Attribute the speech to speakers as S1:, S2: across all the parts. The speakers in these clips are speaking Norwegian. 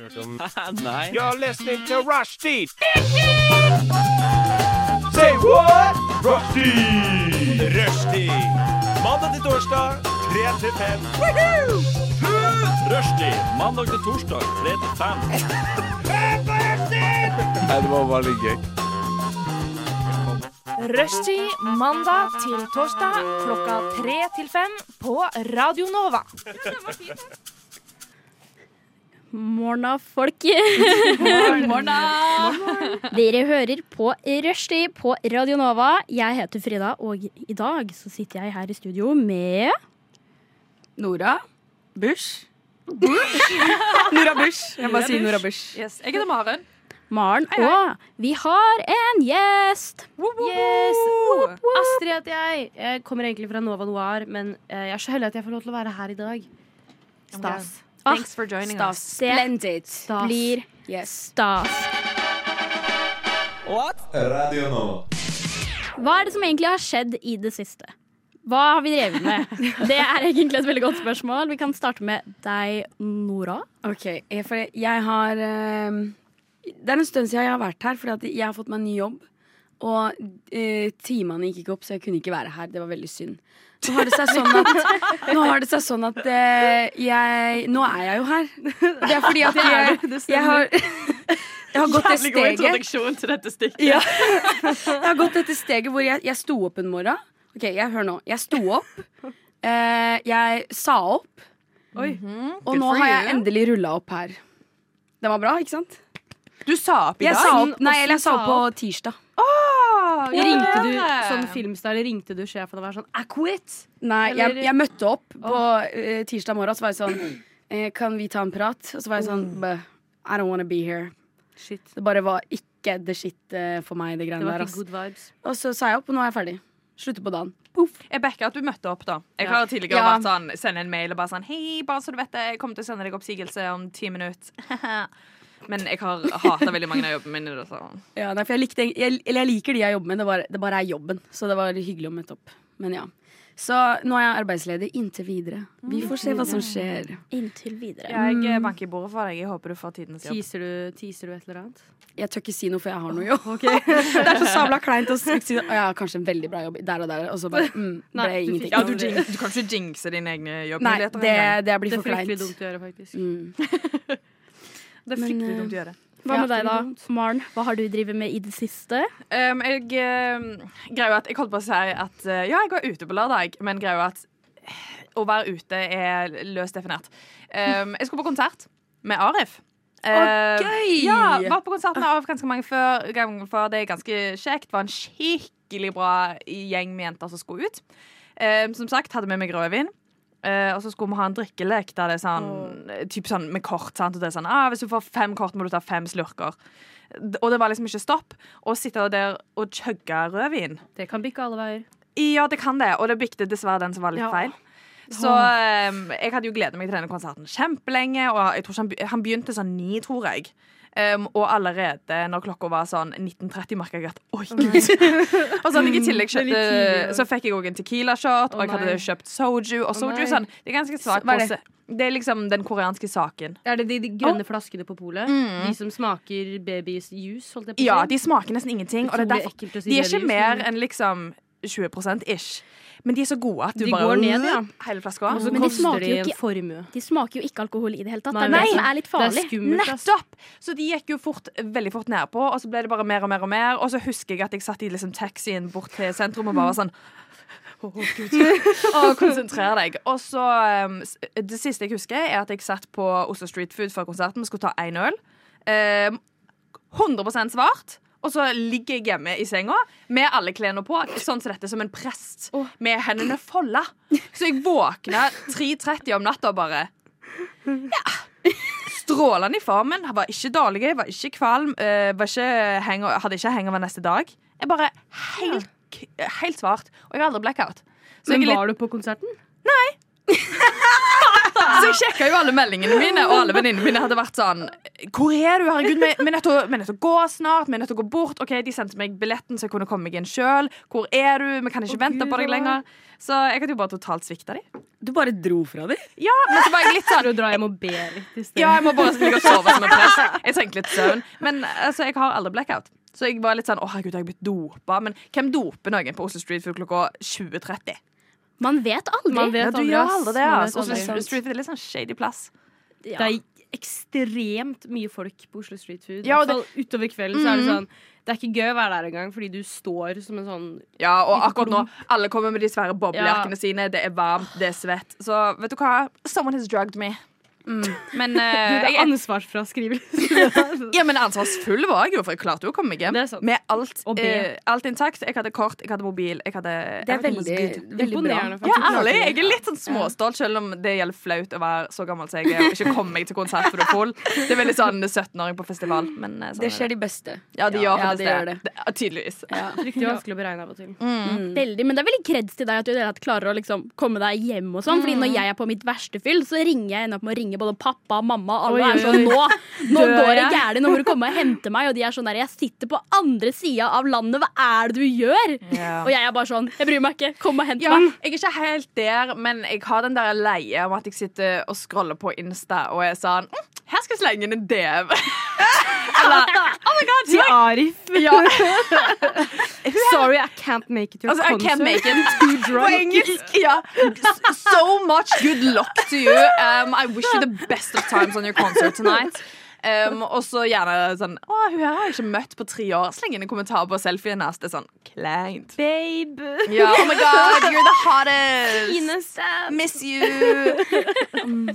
S1: hørt om
S2: Nei.
S3: You're listening to Rushdie. Say what? Rushdie. Rushdie. Mandag til torsdag, 3 til 5.
S2: Rushdie mandag til torsdag 3 til 5.
S1: Nei, det var bare litt gøy.
S4: Rushtid mandag til torsdag klokka tre til fem på Radio Nova.
S5: Morna, folk.
S6: Morna!
S5: Dere hører på Rushtid på Radio Nova. Jeg heter Frida, og i dag så sitter jeg her i studio med
S6: Nora Bush. Nora Bush. Jeg bare sier Nora Bush.
S7: Yes. Jeg heter Maren.
S5: Maren, og vi har en gjest!
S8: Yes! Astrid heter jeg. Jeg kommer egentlig fra Nova Noir, men eh, jeg er så heldig at jeg får lov til å være her i dag. Stas.
S7: Thanks for joining us.
S5: Ah, Det blir stas.
S9: Radio Nova.
S5: Hva er det som egentlig har skjedd i det siste? Hva har vi drevet med? Det er egentlig et veldig godt spørsmål. Vi kan starte med deg, Nora.
S6: Ok, eh, for jeg har eh, Det er en stund siden jeg har vært her, fordi at jeg har fått meg en ny jobb. Og eh, timene gikk ikke opp, så jeg kunne ikke være her. Det var veldig synd. Nå har det seg sånn at, nå har det seg sånn at eh, jeg Nå er jeg jo her. Det er fordi at jeg, jeg har Jeg har gått det
S7: Jævlig god
S6: steget.
S7: introduksjon til dette stikket.
S6: Ja. Jeg har gått dette steget hvor jeg, jeg sto opp en morgen. Ok, jeg Hør nå. Jeg sto opp. Eh, jeg sa opp. Mhm. Og
S7: Good
S6: nå
S7: for
S6: har jeg
S7: you.
S6: endelig rulla opp her. Den var bra, ikke sant?
S7: Du sa opp i
S6: Jeg
S7: dag.
S6: sa opp, nei, eller jeg sa opp på tirsdag.
S7: Åh,
S8: Ringte du
S7: gratulerer.
S8: sånn filmstar, ringte du sjefen og var sånn I quit?
S6: Nei, jeg,
S8: Eller-
S6: jeg møtte opp på eh, tirsdag morgen, så var jeg sånn eh, Kan vi ta en prat? Og så var jeg sånn "Bæ, I don't wanna be here.
S8: Shit.
S6: Det bare var ikke the shit eh, for meg, det
S8: Det
S6: greiene
S8: var
S6: der.
S8: ikke
S6: ass.
S8: good vibes.
S6: Og så sa jeg opp, og nå er jeg ferdig. Slutter på dagen.
S7: Jeg backer at du møtte opp, da. Jeg
S8: Ja.
S7: har tidligere
S6: Ja.
S7: vært sånn, sende en mail og bare sånn Hei, bare så du vet det, jeg kommer til å sende deg oppsigelse om ti minutter. Men jeg har hata veldig mange av jobbene mine. da, så-
S6: Ja, nei, for jeg, likte, jeg, eller jeg liker de jeg jobber med, det bare, det bare er jobben. Så det var hyggelig å møte opp. Men ja. Så nå er jeg arbeidsledig inntil videre. Vi får se hva som
S8: Mm.
S6: skjer.
S5: Inntil videre.
S7: Jeg eh, banker i bordet for deg. Jeg håper du får tidens jobb.
S8: Teaser du, teaser du et eller annet?
S6: Jeg tør ikke si noe, for jeg har noe jobb. det er så sabla kleint å si si, «Å, jeg har kanskje en veldig bra jobb der og der, og så bare mm,
S8: Nei,
S6: ble
S8: du
S6: ingenting.
S8: fikk-
S7: Ja, du, jing, du kan ikke jinxe dine egne
S6: Nei,
S7: jobbmuligheter.
S6: det, det
S7: engang.
S8: Det
S6: blir
S8: er
S6: for
S8: fryktelig
S6: kleint.
S8: dumt å gjøre, faktisk.
S6: Mm.
S7: det er
S6: men,
S7: fryktelig
S6: eh,
S7: dumt å gjøre.
S5: Hva med
S6: Ja,
S5: deg, da? Maren, hva har du drevet med i det siste?
S7: Um, jeg um, greier jo at Jeg holdt på å si at uh, ja, jeg var ute på lørdag, men greier jo at eh, å være ute er løst definert. Um, jeg skulle på konsert med Arif. Uh,
S6: gøy!
S7: Ja, Vært på konsert med Arif ganske mange før, ganger før. Det er ganske kjekt. Var en skikkelig bra gjeng med jenter som skulle ut. Um, som sagt, hadde med meg rødvin. Eh, og så skulle vi ha en drikkelek der det er sånn, typ sånn med kort. Sant? Og det er sånn, ah, Hvis du får fem kort, må du ta fem slurker. D- Og det var liksom ikke stopp. Å sitte der og chugge rødvin
S8: Det kan bikke alle veier.
S7: Ja, det kan det, og det bikte dessverre den som var litt
S8: Ja.
S7: feil. Så ehm, jeg hadde jo gledet meg til denne konserten kjempelenge, og jeg tror ikke han, be- han begynte sånn ni, tror jeg. Ehm, og allerede når klokka var sånn 19.30, merka jeg at oi, gud. og sånn, jeg
S8: Det er
S7: i tillegg
S8: litt
S7: kjøpte,
S8: tidlig, ja.
S7: så fikk jeg òg en tequila-shot, og jeg
S8: nei.
S7: hadde kjøpt soju. Og soju
S8: nei.
S7: sånn, det er ganske svak
S6: Hva er
S7: pose. Det er liksom den koreanske saken.
S8: Er det de, de grønne flaskene på polet? De som smaker baby's juice? Holdt jeg på å si?
S7: Ja, de smaker nesten ingenting. Og det er
S8: Utrolig
S7: derfor,
S8: ekkelt å si
S7: de er
S8: det,
S7: ikke
S8: de,
S7: mer
S8: men-
S7: enn liksom 20 ish. Men de er så gode at du
S8: De
S7: bare
S8: går ned, ja.
S7: Hele flaska.
S8: Og så
S5: Men de
S8: koster
S5: smaker
S8: de
S5: jo
S8: en
S5: ikke-
S8: formue.
S5: De smaker jo ikke alkohol i det hele tatt. Det er
S8: Nei,
S5: det som er litt farlig.
S8: Det er skummelt. ass.
S7: Nettopp! Så de gikk jo fort, veldig fort nedpå, og så ble det bare mer og mer og mer. Og så husker jeg at jeg satt i liksom taxien bort til sentrum og bare var sånn Å, Gud. Og konsentrer deg. Og så um, s- Det siste jeg husker, er at jeg satt på Oslo Street Food før konserten. Vi skulle ta én øl. Um, 100 svart. Og så ligger jeg hjemme i senga med alle klærne på, sånn som dette, som en prest. Med hendene folda. Så jeg våkner 3.30 om natta og bare Ja. Strålende i formen. Var ikke dårlig, jeg var ikke kvalm. eh, var ikke hangover, hadde ikke hangover neste dag. Jeg bare helt, k- helt svart. Og jeg har aldri blackout. Så
S8: Men
S7: jeg er litt
S8: var du på konserten?
S7: Så jeg sjekka jo alle meldingene mine, og alle venninnene mine hadde vært sånn Hvor er du? Herregud, vi vi er nødt til å- vi er nødt til å gå snart. Vi er nødt til å gå bort. OK, de sendte meg billetten, så jeg kunne komme meg inn sjøl. Hvor er du? Vi kan ikke vente på deg lenger. Så jeg hadde jo bare totalt svikta de.
S6: Du bare dro fra dem?
S7: Ja, men så var jeg litt sånn
S8: Du drar hjem og ber litt i stedet.
S7: Ja, jeg må bare ligge og sove som en prest. Jeg trengte litt søvn. Men altså, jeg har aldri blackout. Så jeg var litt sånn Å, herregud, jeg har blitt dopa. Men hvem doper noen på Oslo Street Food klokka 20.30?
S5: Man vet aldri.
S8: Man vet
S7: Ja, du
S8: aldri,
S7: gjør
S8: ass.
S7: aldri det.
S8: Man
S7: Altså.
S8: vet
S7: Oslo
S8: aldri.
S7: Street Food er litt sånn shady plass.
S5: Ja.
S8: Det er ekstremt mye folk på Oslo Street Food. I
S7: Ja, og
S8: hvert fall utover kvelden så
S5: Mm.
S8: er det sånn Det er ikke gøy å være der engang, fordi du står som en sånn
S7: Ja, og
S8: Liten
S7: akkurat nå Alle kommer med de svære boblejakkene
S8: Ja.
S7: sine. Det er varmt, det er svett. Så vet du hva? Someone has drugged me.
S8: Mm.
S7: Men eh,
S8: Det er
S7: jeg,
S8: ansvarsfraskrivelse.
S7: ja, men ansvarsfull var jeg jo, for jeg klarte jo å komme meg hjem
S8: Det er sant.
S7: med alt,
S8: Og be.
S7: eh, alt intakt. Jeg hadde kort, jeg hadde mobil, jeg hadde
S6: Det er
S7: everything was
S6: veldig,
S7: good.
S6: veldig bra.
S8: Imponerende,
S7: Ja, ærlig. Jeg er litt sånn småstolt, selv om det gjelder flaut å være så gammel som jeg er og ikke komme meg til konsert for du er full. Det er veldig sånn 17-åring på festival. Men eh, sånn
S6: Det
S7: er
S6: skjer de beste.
S7: det. Ja, de gjør
S6: Ja,
S7: faktisk
S6: det
S7: det.
S6: gjør det.
S7: det. ja, Tydeligvis.
S6: Ja.
S8: Fryktelig vanskelig å beregne av og til. Mm.
S5: Veldig, men det er veldig kreds til deg at du i det hele tatt klarer å liksom komme deg hjem. og sånn Fordi når
S8: Mm.
S5: jeg er på mitt verste fyll, så ringer jeg ender opp med å ringe både pappa og mamma. Og alle
S8: Oi,
S5: er
S8: oi,
S5: sånn Nå, nå
S8: Dør
S5: går det
S8: jeg?»
S5: gærent, nå må du komme og hente meg. Og de er sånn der Jeg sitter på andre sida av landet, hva er det du gjør?
S7: Ja.
S5: Og jeg er bare sånn Jeg bryr meg ikke, kom og hent
S7: Ja,
S5: meg.
S7: jeg er ikke helt der, men jeg har den der leie om at jeg sitter og scroller på Insta og er sånn mm, Her skal jeg slenge inn en DM. Eller Oh my God!
S8: Til Arif.
S7: Ja,
S8: Sorry, I can't make it your
S7: altså, I can't make it.
S8: Too
S7: På
S8: drunk.
S7: engelsk. Ja. So much good luck to you. Um, I wish you the best of times on your concert tonight. Um, og så gjerne sånn Å, hun her har jeg ikke møtt på tre år. Sleng inn en kommentar på selfien hennes. Det er sånn kleint.
S8: Babe.
S7: Ja, oh my god, you're the hottest.
S8: Innocent.
S7: Miss you!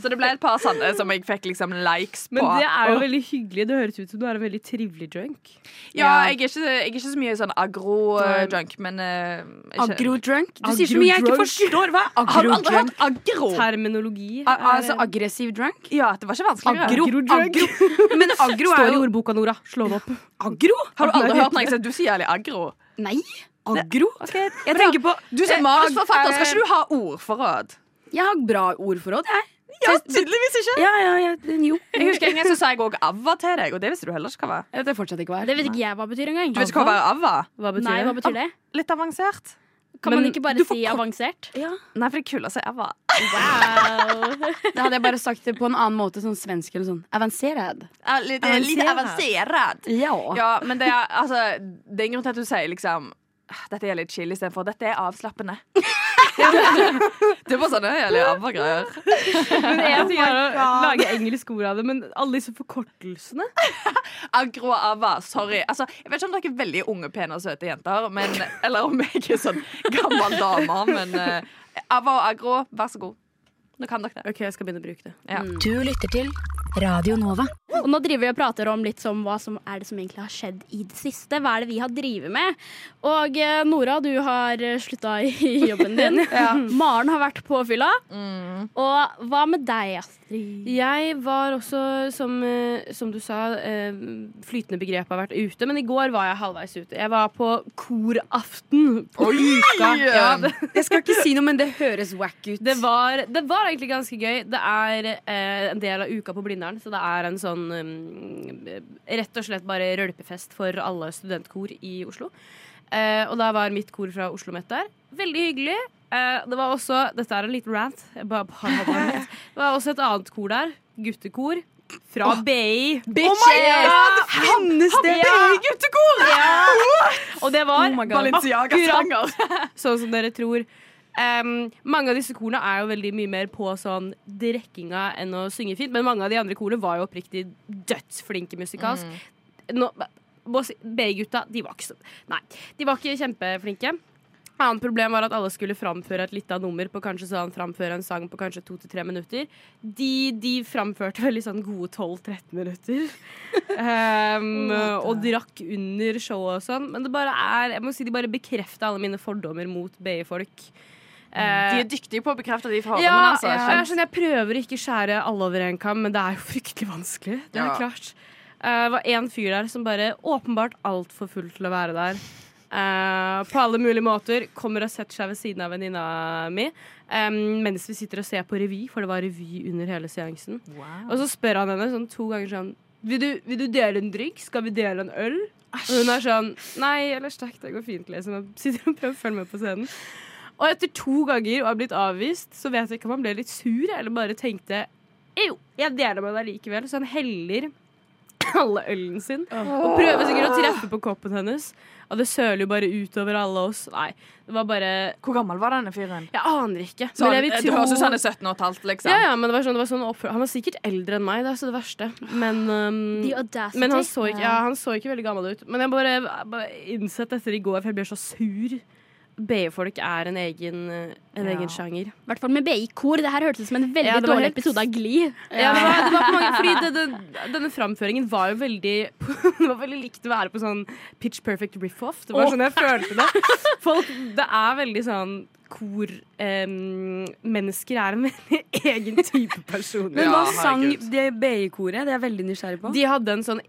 S7: Så det ble et par sånne som jeg fikk liksom likes på.
S8: Men det er jo veldig hyggelig. Det høres ut som du er en veldig trivelig drunk.
S7: Ja, jeg er ikke, jeg er ikke så mye sånn agro-junk, men eh, ikke-
S6: Agrodrunk? Du
S8: Agrodrunk.
S6: sier så mye jeg ikke forstår. Hva? er
S7: Har du aldri
S6: Agrodrunk?
S7: hørt agro? Ah,
S8: Terminologi
S6: A-
S8: er-
S6: Altså aggressiv drunk?
S7: Ja, det var ikke vanskeligere.
S6: Agro?
S8: Agrodrunk.
S6: agro. Men agro
S8: Står
S6: er
S8: i
S6: jo
S8: ordboka, Nora. Slå det opp.
S6: Agro?
S7: Har du aldri hørt noen si at du sier jævlig agro? Eh,
S6: Nei. Agro?
S7: Jeg tenker på Du som manusforfatter, skal ikke du ha ordforråd?
S6: Jeg har bra ordforråd, jeg.
S7: Ja, tydeligvis ikke.
S6: Ja, ja, ja, den- jo.
S7: Jeg husker en gang så sa jeg òg ava til deg, og det visste du heller ikke hva var.
S6: Jeg vet det fortsatt ikke hva er.
S5: Det vet ikke jeg hva betyr engang.
S7: Du vet ikke hva var ava?
S8: Hva betyr
S5: Nei, hva
S8: det?
S5: betyr det?
S7: Litt avansert.
S5: Kan man
S8: Men
S5: ikke bare si avansert?
S7: Nei, for det er kulere å si ava.
S6: Det hadde jeg bare sagt det på en annen måte, sånn svensk eller sånn. Avanserad.
S7: Ja, Litt, litt avansert. Ja, men det er, altså, det er en grunn til at du sier liksom Dette er litt chill istedenfor dette er avslappende. det er bare sånne jævlig ABBA-greier.
S8: Men
S7: Oh
S8: jeg ting er å lage engelske ord av det, men alle disse forkortelsene
S7: Agro og ABBA, sorry. Altså, jeg vet ikke om dere er veldig unge, pene og søte jenter, men, eller om jeg er sånn gammel dame, men eh, ABBA og agro, vær så god. Nå kan dere det.
S8: OK, jeg skal begynne å bruke det.
S7: Ja.
S1: Du lytter til Radio Nova.
S5: Og nå driver vi og prater om litt som hva som er det som egentlig har skjedd i det siste. Hva er det vi har drevet med? Og eh, Nora, du har slutta i jobben din. Maren har vært på fylla.
S8: Mm.
S5: Og hva med deg, Astrid?
S8: Jeg var også, som, eh, som du sa, eh, flytende begrep har vært ute, men i går var jeg halvveis ute. Jeg var på koraften på Uka. Ja, det,
S6: Jeg skal ikke si noe, men det høres wack ut.
S8: det, var, det var egentlig ganske gøy. Det er eh, en del av Uka på Blindern, så det er en sånn eh, rett og slett bare rølpefest for alle studentkor i Oslo. Eh, og da var mitt kor fra Oslo Met der. Veldig hyggelig. Eh, det var også Dette er en liten rant. Jeg bare, bare, bare, rant. Det var også et annet kor der. Guttekor. Fra BI.
S7: Oh Bitches!
S6: Hennes det!
S7: Guttekor!
S8: Og det var akkurat
S7: Balenciaga-sanger.
S8: sånn som dere tror. Em, mange av disse korene er jo veldig mye mer på sånn drekkinga enn å synge fint, men mange av de andre korene var jo oppriktig dødsflinke musikalsk. Nå, må si- B-gutta, de var ikke så Nei, de var ikke kjempeflinke. Annet problem var at alle skulle framføre et lite nummer på kanskje sånn framføre en sang på kanskje to til tre minutter. De, de framførte veldig sånn gode 12-13 minutter. Ehm, og drakk under showet og sånn. Men det bare er, jeg må si de bare bekrefta alle mine fordommer mot BI-folk.
S7: Mm, De er dyktige på å bekrefte de forholdene,
S8: Eh, Ja,
S7: altså.
S8: ja. Jeg,
S7: Skjønt.
S8: skjønner, jeg prøver ikke skjære alle over en kam, men det er jo fryktelig vanskelig. Det er
S7: Ja.
S8: klart. Eh, Det var en fyr der som bare åpenbart altfor full til å være der. eh, på alle mulige måter. Kommer og setter seg ved siden av venninna mi eh, mens vi sitter og ser på revy, for det var revy under hele seansen. Og så spør han henne sånn to ganger sånn vil du, vil du dele en drink? Skal vi dele en øl? Og hun er sånn Nei, ellers takk, det går fint, liksom. Jeg sitter og prøver å følge med på scenen. Og etter to ganger å ha blitt avvist, så vet jeg ikke om han ble litt sur, eller bare tenkte Jo, jeg deler med deg likevel. Så han heller alle ølen sin. Og prøver sikkert å treffe på koppen hennes. Og det søler jo bare utover alle oss. Nei, det var bare
S7: Hvor gammel var denne fyren?
S8: Jeg aner ikke.
S7: Sånn,
S8: men jeg vil
S7: eh,
S8: tro
S7: Det høres ut som han er 17 og et halvt, liksom.
S8: ja, ja, men det var sånn, det var sånn oppfør- Han var sikkert eldre enn meg, det er så det verste. Men, um,
S5: The audacity.
S8: men han, så ikke, ja, han så ikke veldig gammel ut. Men jeg bare, bare innsett etter i går, for jeg ble så sur. BI-folk er en egen, en
S7: Ja.
S8: egen sjanger.
S5: I hvert fall med BI-kor. Det her hørtes ut som en veldig
S8: Ja, det var
S5: dårlig
S8: helt-
S5: episode av Gli.
S8: Ja, det var, det var på mange, fordi det, det, denne framføringen var jo veldig Det var veldig likt å være på sånn Pitch Perfect riff-off. Det var sånn jeg følte det. Folk, det er veldig sånn kor em, Mennesker er en veldig egen type personer.
S6: Men hva
S7: Ja,
S6: sang
S7: herregud.
S6: det BI-koret? Det er jeg veldig nysgjerrig på.
S8: De hadde en sånn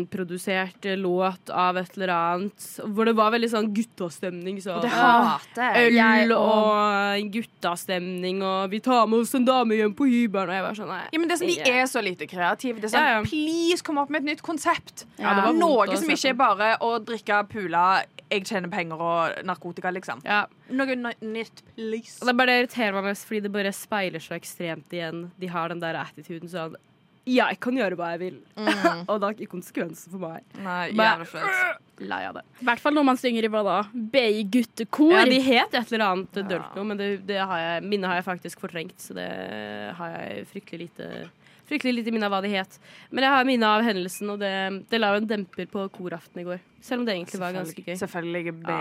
S8: egenprodusert eh, låt av et eller annet, hvor det var veldig sånn guttastemning. Så.
S7: Det hater jeg.
S8: Øl og guttastemning, og vi tar med oss en dame hjem på hybelen. Og jeg var sånn, nei.
S7: Ja, men det er sånn, De er så lite kreative. Det er sånn,
S8: Ja, ja.
S7: Please, kom opp med et nytt konsept!
S8: Ja, det var vondt å
S7: Noe
S8: se
S7: som
S8: på.
S7: ikke er bare å drikke pula, jeg tjener penger og narkotika, liksom.
S8: Ja.
S7: Noe n- nytt, please.
S8: Og det er bare det irriterer meg mest, fordi det bare speiler så ekstremt igjen. De har den der attituden sånn Ja, jeg kan gjøre hva jeg vil, og det har ikke konsekvenser for meg.
S7: Nei,
S8: Bare-
S7: jævlig flaut.
S8: Lei av det.
S5: I hvert fall når man synger i hva da? BI-guttekor.
S8: Ja, de het et eller annet dølt noe, men det, det har jeg, minnet har jeg faktisk fortrengt. Så det har jeg fryktelig lite Fryktelig lite minne av hva de het. Men jeg har minne av hendelsen, og det, det la jo en demper på koraften i går. Selv om det egentlig var ganske gøy.
S7: Selvfølgelig ble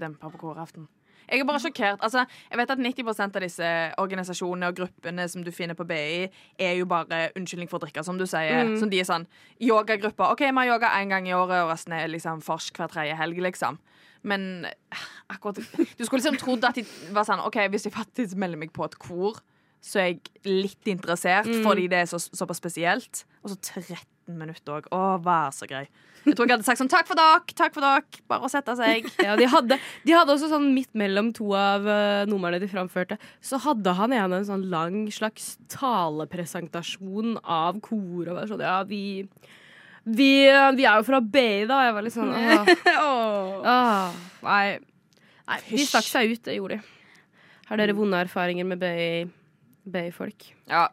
S7: dempa på koraften. Jeg er bare sjokkert. Altså, jeg vet at 90 av disse organisasjonene og gruppene som du finner på BI, er jo bare unnskyldning for å drikke, som du sier.
S8: Mm.
S7: Som de er sånn yogagrupper. OK, vi har yoga én gang i året, og resten er liksom fors hver tredje helg, liksom. Men eh, akkurat Du skulle liksom trodd at de var sånn OK, hvis jeg faktisk melder meg på et kor, så er jeg litt interessert,
S8: Mm.
S7: fordi det er så, såpass spesielt. Og så 13 minutter òg. Å, vær så grei. Jeg tror jeg hadde sagt sånn takk for dere, takk for dere. Bare å sette seg.
S8: Ja, de, hadde, de hadde også sånn midt mellom to av eh, numrene de framførte, så hadde han ene en sånn lang slags talepresentasjon av kor. Og var sånn, ja, vi, vi, vi er jo fra BI, da. Jeg var litt sånn åh, åh, Nei. nei de stakk seg ut, det gjorde de. Har dere vonde erfaringer med BI? BI-folk.
S7: Ja.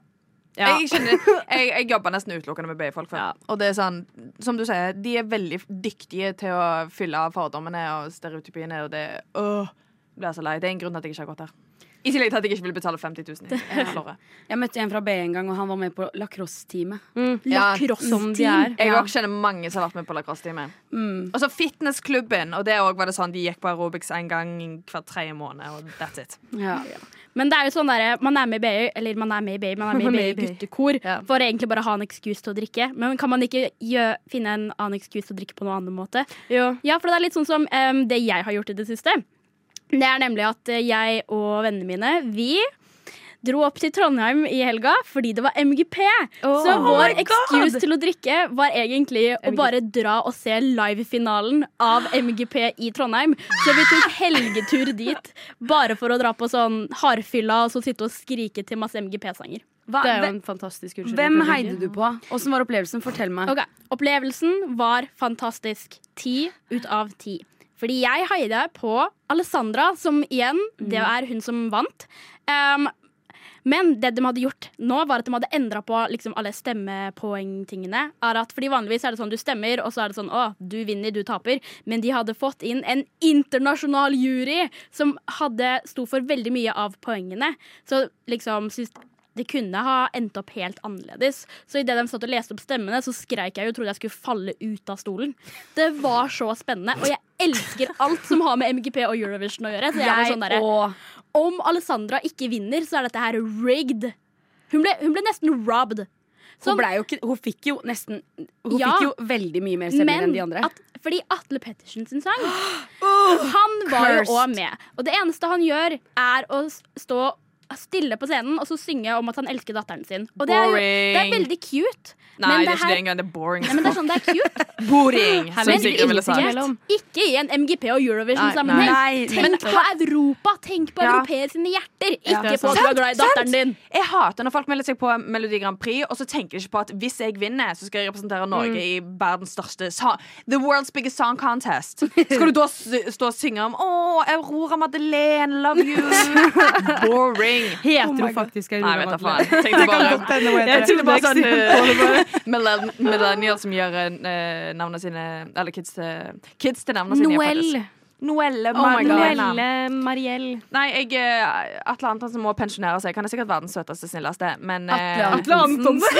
S8: Ja.
S7: Jeg, kjenner, jeg, jeg jobber nesten utelukkende med BI-folk. før.
S8: Ja.
S7: Og det er sånn, som du sier, de er veldig dyktige til å fylle fordommene og stereotypiene. Og det åh, blir jeg så lei. Det er en grunn til at jeg ikke har gått her. I tillegg til at jeg ikke vil betale 50 000 i året.
S6: Jeg møtte en fra BI en gang, og han var med på lacrosse-teamet.
S7: Ja,
S8: Som de er.
S7: Jeg også kjenner mange som har vært med på lacrosse-timen. Og så fitnessklubben. Og det også var det sånn, de gikk på aerobics en gang hver tredje måned. Og that's it.
S6: Ja.
S5: Men det er jo sånn derre Man er med i BI, eller man er med i BI, man er med i BI guttekor
S7: Ja.
S5: for å egentlig bare ha en excuse til å drikke. Men kan man ikke gjø finne en annen excuse til å drikke på noen annen måte?
S8: Jo.
S5: Ja, for det er litt sånn som em, det jeg har gjort i det siste. Det er nemlig at eh, jeg og vennene mine, vi dro opp til Trondheim i helga fordi det var MGP.
S8: Oh
S5: Så vår excuse til å drikke var egentlig å bare dra og se livefinalen av MGP i Trondheim. Så vi tok helgetur dit bare for å dra på sånn hardfylla og så sitte og skrike til masse MGP-sanger.
S6: Hva,
S8: Det er jo
S6: hvem,
S8: en fantastisk unnskyldning.
S6: hvem
S8: for å drikke.
S6: heide du på? Åssen var opplevelsen? Fortell meg.
S5: Ok, Opplevelsen var fantastisk. Ti ut av ti. Fordi jeg heide på Alessandra, som igjen, det er hun som vant. Um, men det de hadde gjort nå, var at de hadde endra på liksom, alle stemmepoengtingene. Er at, fordi vanligvis er det sånn du stemmer, og så er det sånn å, du vinner, du taper. Men de hadde fått inn en internasjonal jury som hadde, sto for veldig mye av poengene. Så liksom synes- det kunne ha endt opp helt annerledes. Så idet de satt og leste opp stemmene, så skreik jeg jo og trodde jeg skulle falle ut av stolen. Det var så spennende, og jeg elsker alt som har med MGP og Eurovision å gjøre. Så jeg var sånn derre om Alessandra ikke vinner, så er dette her rigged. Hun ble, hun ble nesten robbed.
S6: Hun,
S5: Sånn,
S6: ble jo ikke, hun fikk jo nesten Hun
S5: Ja.
S6: fikk jo veldig mye mer stemmer enn de andre.
S5: at, fordi Atle Pettersen sin sang Han var jo
S6: Cursed.
S5: òg med. Og det eneste han gjør, er å s- stå stille på scenen og så synge om at han elsker datteren sin. Og det er, jo, det er
S7: Boring.
S5: veldig cute.
S7: Nei,
S5: men
S7: det er
S5: det
S7: ikke det
S5: her-
S7: engang. Det er boring.
S5: Nei, men det er sånn det er cute.
S7: Boring, som
S5: Men
S7: Sigrid ville sagt.
S5: integrert ikke i en MGP- og Eurovision-sammenheng.
S6: Nei,
S5: Tenk på Europa! Tenk på
S7: Ja.
S5: europeere sine hjerter! Ikke på at
S7: er
S5: du
S7: sant.
S5: er glad i
S7: Sant,
S5: datteren din.
S7: Jeg hater når folk melder seg på Melodi Grand Prix og så tenker de ikke på at hvis jeg vinner, så skal jeg representere Norge i verdens største song, The World's Biggest Song Contest. Skal du da s- stå og synge om Å, Aurora Madeleine, love you? Boring.
S8: Heter hun faktisk
S7: Nei,
S8: Aurora
S7: vet da
S8: Madeleine?
S7: faen. Jeg tenkte bare, jeg tenkte bare sånn eh, millen- Millennial som gjør eh, navnene sine Eller kids til, kids til navnene sine. faktisk. Noelle Madeleine.
S8: Noelle Mariell.
S7: Nei, jeg, eh, Atle Antonsen må pensjonere seg. Han er sikkert verdens søteste, snilleste, men eh,
S8: Atle Antonsen.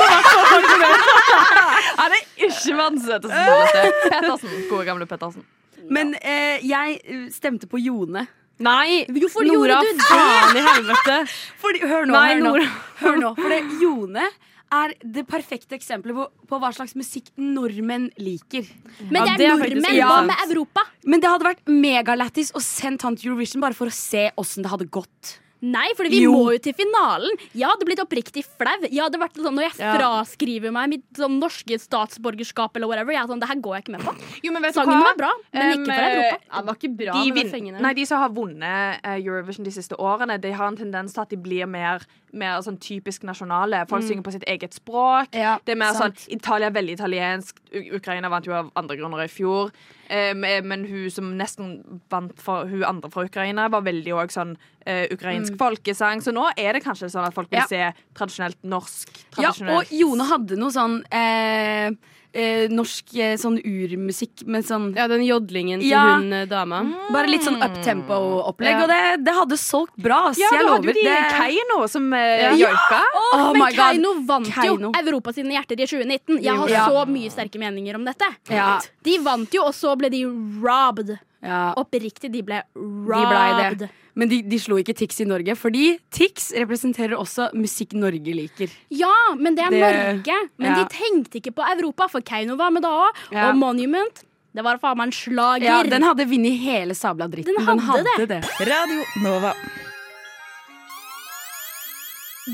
S7: Han er ikke verdens søteste, snilleste. Pettersen. Gode, gamle Pettersen.
S6: Men eh, jeg eh, stemte på Jone.
S8: Nei,
S6: Hvorfor
S8: Nora, faen i helvete!
S6: Fordi, hør nå,
S8: Nei,
S6: hør nå.
S8: Nora.
S6: Hør nå for det, Jone er det perfekte eksempelet på, på hva slags musikk nordmenn liker.
S5: Men
S8: Ja,
S5: det
S8: det
S5: er
S8: er faktisk
S5: nordmenn.
S6: ikke
S5: Hva
S6: sant.
S5: med Europa?
S6: Men det hadde vært megalættis å sende han til Eurovision bare for å se åssen det hadde gått.
S5: Nei, for vi
S6: Jo.
S5: må jo til finalen. Jeg hadde blitt oppriktig flau. Jeg hadde vært sånn, Når jeg fraskriver meg mitt sånn, norske statsborgerskap eller whatever, jeg er sånn, det her går jeg ikke med på.
S7: Jo, men vet du
S5: Sangen
S7: hva?
S5: var bra, men
S7: Um,
S5: ikke for Europa.
S8: eh, Ja, det var ikke bra
S7: De,
S8: med de
S7: vin-
S8: fengene.
S7: nei, de som har vunnet eh, Eurovision de siste årene, De har en tendens til at de blir mer, mer sånn typisk nasjonale. Folk synger på sitt eget språk.
S6: Ja,
S7: det er mer
S6: sant.
S7: sånn, Italia er veldig italiensk. U Ukraina vant jo av andre grunner i fjor. Eh, men men hun som nesten vant for hun andre fra Ukraina, var veldig òg sånn eh, ukrainsk folkesang. Så nå er det kanskje sånn at folk vil
S6: Ja.
S7: se tradisjonelt norsk.
S6: Ja,
S7: Tradisjonelt
S6: og Jone hadde noe sånn eh, eh, norsk eh, sånn urmusikk med sånn
S8: Ja, den jodlingen til
S6: Ja.
S8: hun eh, dama.
S6: Bare litt sånn uptempo-opplegg,
S8: Ja.
S6: og det, det hadde solgt bra. ass.
S7: Ja,
S6: jeg
S7: du hadde
S6: lover.
S7: jo de
S6: det-
S7: Keiino som eh,
S8: Ja.
S7: joika.
S6: Oh
S5: men
S6: my god.
S5: Keiino vant
S6: Keiino.
S5: jo Europa sine hjerter i 2019. Jeg har
S6: Ja.
S5: så mye sterke meninger om dette.
S6: Ja.
S5: De vant jo, og så ble de robbed.
S6: Ja.
S5: Oppriktig, de ble
S6: De blei
S5: robbed.
S6: det. Men de, de slo ikke Tix i Norge, fordi Tix representerer også musikk Norge liker.
S5: Ja, men det er
S6: Det-
S5: Norge. Men
S6: ja.
S5: de tenkte ikke på Europa, for Keiino var med da òg.
S6: Ja.
S5: Og Monument. Det var faen meg en slager.
S6: Ja, den hadde vunnet hele sabla dritten.
S5: Den hadde
S6: det.
S1: Radio Nova.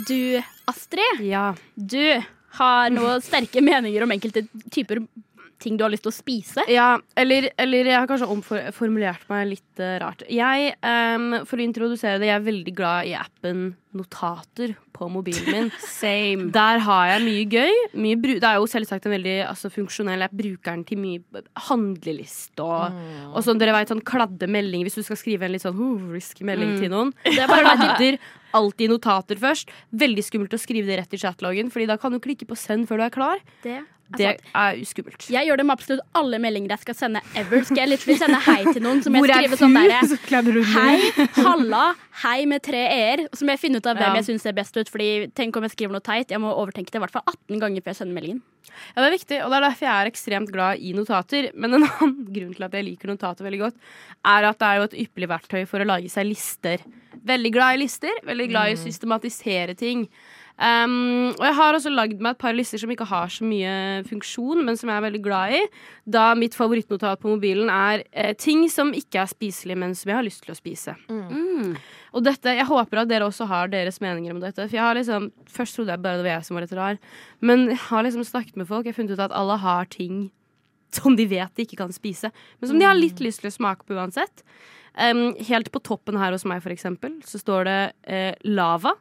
S5: Du, Astrid,
S8: Ja.
S5: du har noen sterke meninger om enkelte typer ting du har lyst til å spise.
S8: Ja, eller, eller jeg har kanskje omformulert meg litt eh, rart. Jeg, ehm, for å introdusere det, jeg er veldig glad i appen Notater på mobilen min.
S6: Same.
S8: Der har jeg mye gøy. Mye bru det er jo selvsagt en veldig altså, funksjonell app. Bruker den til mye handleliste og, og sånn, dere vet, sånn kladde meldinger hvis du skal skrive en litt sånn uh, risky melding til noen. Det er bare Kladder alltid notater først. Veldig skummelt å skrive det rett i chatloggen, Fordi da kan du klikke på send før du er klar.
S5: Det
S8: Det er skummelt.
S5: Jeg gjør det med absolutt alle meldinger jeg skal sende ever. Skal jeg literally sende hei til noen som jeg
S8: Hvor er
S5: skriver sånn derre
S8: Så kladder du ned.
S5: Hei, halla, hei med tre e-er. Så må jeg finne ut av hvem
S8: Ja.
S5: jeg syns ser best ut. Fordi tenk om jeg skriver noe teit. Jeg må overtenke det i hvert fall 18 ganger før jeg sender meldingen.
S8: Ja, det er viktig, og det er derfor jeg er ekstremt glad i notater. Men en annen grunn til at jeg liker notater veldig godt, er at det er jo et ypperlig verktøy for å lage seg lister. Veldig glad i lister, veldig glad i å systematisere ting. Um, og jeg har også lagd meg et par lister som ikke har så mye funksjon, men som jeg er veldig glad i. Da mitt favorittnotat på mobilen er eh, ting som ikke er spiselige, men som jeg har lyst til å spise.
S6: Mm.
S8: Og dette, Jeg håper at dere også har deres meninger om dette. For jeg har liksom, Først trodde jeg bare det var jeg som var litt rar, men jeg har liksom snakket med folk. Jeg har funnet ut at alle har ting som de vet de ikke kan spise, men som de har litt lyst til å smake på uansett. Em, helt på toppen her hos meg, for eksempel, så står det eh, lava.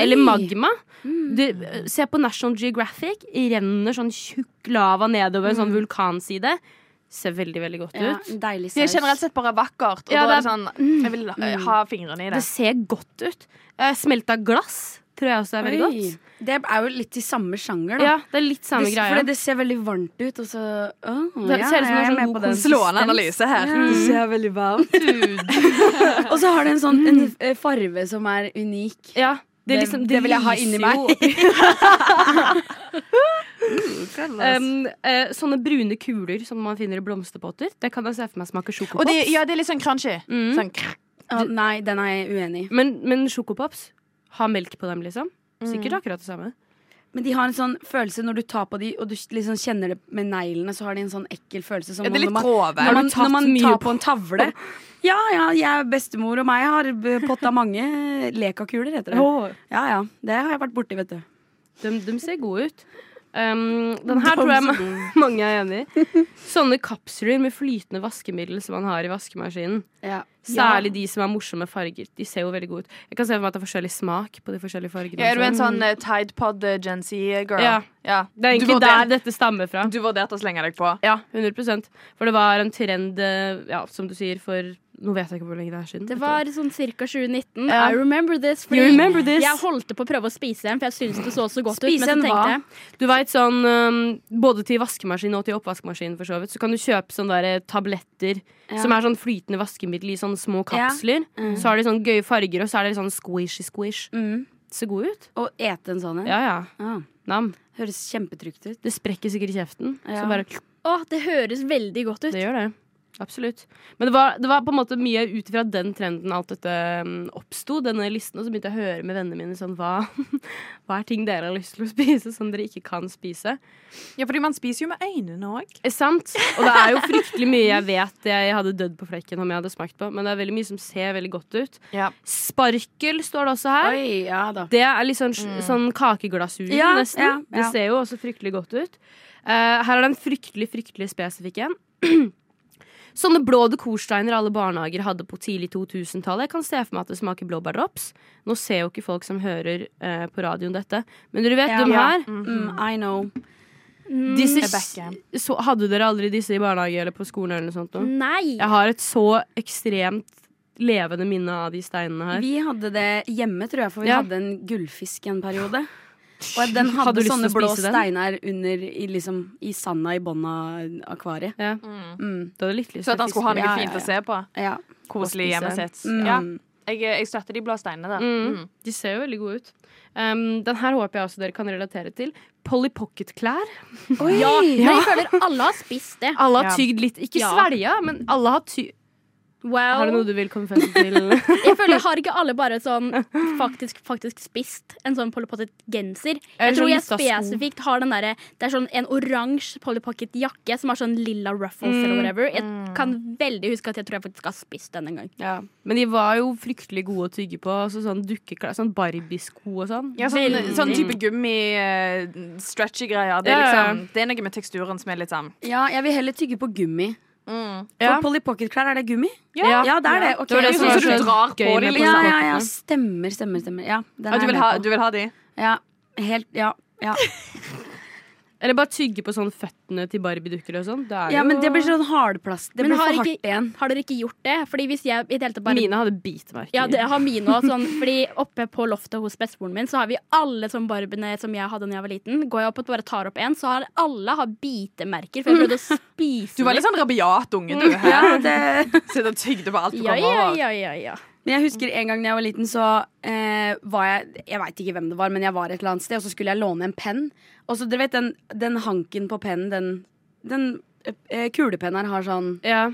S8: Eller magma.
S6: Mm.
S8: Det, se på National Geographic. Renner sånn tjukk lava nedover en sånn vulkanside. Ser veldig, veldig godt
S6: Mm. Ja,
S8: ut.
S6: en deilig
S7: Det er
S6: saus.
S7: generelt sett bare vakkert. Og
S8: Ja,
S7: da
S8: det
S7: er det sånn Jeg vil eh, ha fingrene i det.
S8: Det ser godt ut. Eh, Smelta glass tror jeg også er veldig godt.
S6: Oi. Det er jo litt i samme sjanger, da.
S8: Ja, det er litt samme
S6: det,
S8: greia.
S6: Fordi det ser veldig varmt ut, og så Åh,
S8: Det
S6: ja,
S8: ser ut som
S6: jeg
S8: en
S6: er
S8: sånn
S6: med
S8: god
S6: på den.
S7: Slående analyse her. Mm.
S6: Ja.
S7: Det ser veldig varmt ut.
S6: Og så har det en sånn en eh, farve som er unik.
S8: ja, det,
S6: Det-
S8: liksom, det,
S6: det vil jeg ha
S8: lyser
S6: inni meg.
S8: jo opp.
S7: altså.
S8: Um, eh, sånne brune kuler som man finner i blomsterpotter. Det kan jeg se for meg smaker
S7: Og
S8: sjokopops.
S7: det, ja, det er litt sånn crunchy.
S8: Mm.
S7: Sånn krr.
S6: Å, nei, den er jeg uenig i.
S8: Men, men sjokopops har melk på dem, liksom. Sikkert akkurat det samme.
S6: Men de har en sånn følelse når du tar på de og du liksom kjenner det med neglene, så har de en sånn ekkel følelse. Som
S7: Ja, det er
S6: når
S7: litt
S6: man-
S7: grove.
S6: Når man,
S8: tatt
S6: når man
S8: mye
S6: tar på en tavle. Ja, ja, jeg, bestemor og meg har b- potta mange eh, lekakuler, heter det. Ja, ja. Det har jeg vært borti, vet du.
S8: De, de Eh, ser gode ut. Um, den her tror jeg ma- mange er enig i. Sånne kapsler med flytende vaskemiddel som man har i vaskemaskinen.
S6: Ja.
S8: Særlig de som er morsomme farger. De ser jo veldig gode ut. Jeg kan se for meg at det er forskjellig smak på de forskjellige fargene.
S7: Ja, er du en
S8: også.
S7: sånn eh, Tide Pod eh, Gen Z-girl?
S8: Ja. Det er egentlig der dette stammer fra.
S7: Du vurderte å slenge deg på.
S8: Ja, 100 For det var en trend, eh, ja, som du sier, for Nå vet jeg ikke hvor lenge det er siden.
S5: Det var sånn ca. 2019.
S7: Ja.
S5: I remember this. fordi
S8: You remember this?
S5: Jeg holdt på å prøve å spise den, for jeg syntes det så så godt
S6: Spise
S5: ut. Men så
S6: en hva?
S5: tenkte jeg
S8: Du vet, sånn um, Både til vaskemaskin og til oppvaskmaskin, for så vidt, så kan du kjøpe sånne der eh, tabletter
S6: Ja.
S8: som er sånn flytende vaskemiddel i sånne små
S6: Ja.
S8: kapsler.
S5: Mm.
S8: Så har de sånne gøye farger, og så er det litt sånn squishy-squish.
S6: Mm.
S8: Ser gode ut.
S6: Å ete en sånn en.
S8: Ja, ja.
S6: Ah,
S8: Nam.
S6: høres kjempetrygt ut.
S8: Det sprekker sikkert i kjeften.
S6: Ja.
S8: Så bare
S5: Å, det høres veldig godt ut.
S8: Det gjør det. Absolutt. Men det var, det var på en måte mye ut ifra den trenden alt dette mm, oppsto, denne listen, og så begynte jeg å høre med vennene mine sånn hva, hva er ting dere har lyst til å spise som dere ikke kan spise?
S7: Ja, fordi man spiser jo med øynene òg.
S8: Er sant? Og det er jo fryktelig mye jeg vet jeg hadde dødd på flekken om jeg hadde smakt på, men det er veldig mye som ser veldig godt ut.
S7: Ja.
S8: Sparkel står det også her.
S6: Oi, ja da.
S8: Det er litt sånn, sånn kakeglasur,
S6: Mm. Ja,
S8: nesten.
S6: ja,
S8: Det
S6: ja.
S8: ser jo også fryktelig godt ut. Eh, her er den fryktelig, fryktelig spesifikke en. Sånne blå dekorsteiner alle barnehager hadde på tidlig 2000-tallet. Jeg kan se for meg at det smaker blåbærdrops. Nå ser jo ikke folk som hører eh, på radioen dette, men dere vet
S6: Ja.
S8: de her.
S6: Mm, I know.
S8: Disse,
S7: Rebecca.
S8: så, hadde dere aldri disse i barnehage eller på skolen eller noe sånt?
S6: Mm.
S8: Nå?
S5: Nei!
S8: Jeg har et så ekstremt levende minne av de steinene her.
S6: Vi hadde det hjemme, tror jeg, for vi
S8: Ja.
S6: hadde en gullfisk en periode. Og den hadde,
S8: Hadde du lyst
S6: sånne
S8: til å
S6: blå
S8: spise den?
S6: steiner under i, liksom, i sanda i bånn av akvariet.
S8: Ja.
S6: Mm.
S8: Du hadde litt lyst
S7: Så at
S8: til
S7: han skulle ha
S8: fiske.
S7: noe
S6: Ja, ja,
S7: fint
S6: ja.
S7: å se på.
S6: Ja.
S7: Koselig
S8: Og spise.
S7: hjemmet sitt.
S6: Mm.
S7: Ja. Jeg, jeg støtter de blå steinene der.
S8: Mm.
S7: Mm.
S8: De ser jo veldig gode ut. Um, den her håper jeg også dere kan relatere til. Polly Pocket-klær.
S6: Oi!
S5: Ja, men jeg føler alle har spist det.
S8: Alle har
S7: Ja.
S8: tygd litt. Ikke
S5: Ja.
S8: svelga, men alle har ty... Har du noe du vil konfesse til?
S5: Jeg føler jeg har ikke alle bare sånn faktisk, faktisk spist en sånn Polly Pocket-genser.
S8: Eller
S5: Jeg tror
S8: sånn
S5: jeg
S8: lista sko.
S5: spesifikt har den derre Det er sånn en oransje Polly Pocket-jakke som har sånn lilla ruffles
S8: Mm.
S5: eller whatever. Jeg kan veldig huske at jeg tror jeg faktisk har spist den en gang.
S8: ja. Men de var jo fryktelig gode å tygge på. Altså sånn dukkeklær, sånn Barbie-sko og sånn.
S7: Ja, sånn,
S5: Veldig.
S7: sånn type gummi-stretchy greier. Det er,
S8: Ja, ja.
S7: liksom, det er noe med teksturen som er litt sånn
S6: Ja, jeg vil heller tygge på gummi.
S7: mm.
S8: Ja.
S6: For Polly Pocket-klær, er det gummi?
S8: Ja.
S6: ja det er det. Ok.
S8: Det var det som
S7: Sånn
S8: var
S7: som du
S8: så
S7: drar
S8: gøy
S7: på
S8: med
S7: de,
S6: ja,
S7: liksom.
S6: ja, ja. Stemmer, stemmer, stemmer. Ja, den
S7: Ja,
S6: er
S7: du,
S6: jeg
S7: vil
S6: med
S7: ha,
S6: på.
S7: du vil ha de?
S6: Ja, helt, ja. Ja.
S8: Eller bare tygge på sånn føttene til Barbie-dukker og sånn. Det er
S6: ja,
S8: jo
S6: men det blir sånn hardplast. Det
S5: Men
S6: blir for
S5: har
S6: hardt
S5: ikke-
S6: igjen.
S5: Har dere ikke gjort det? Fordi hvis jeg i det hele tatt bare
S8: Mine hadde bitmerker.
S5: Ja, det har mine også, Sånn, fordi oppe på loftet hos bestemoren min så har vi alle sånn barbiene som jeg hadde da jeg var liten. Går jeg opp og bare tar opp en, så har alle har bitemerker. For jeg prøvde å spise
S7: Du var litt sånn rabiat unge, du.
S6: Ja,
S7: Her.
S6: det...
S7: Sitter og tygde på alt du
S5: Ja,
S7: kommer
S5: ja,
S7: over.
S5: ja, ja, ja.
S6: Men jeg husker en gang da jeg var liten, så eh, var jeg Jeg veit ikke hvem det var, men jeg var et eller annet sted, og så skulle jeg låne en penn. Og så dere vet den, den hanken på pennen, den, den eh, kulepennen her har sånn
S8: Ja.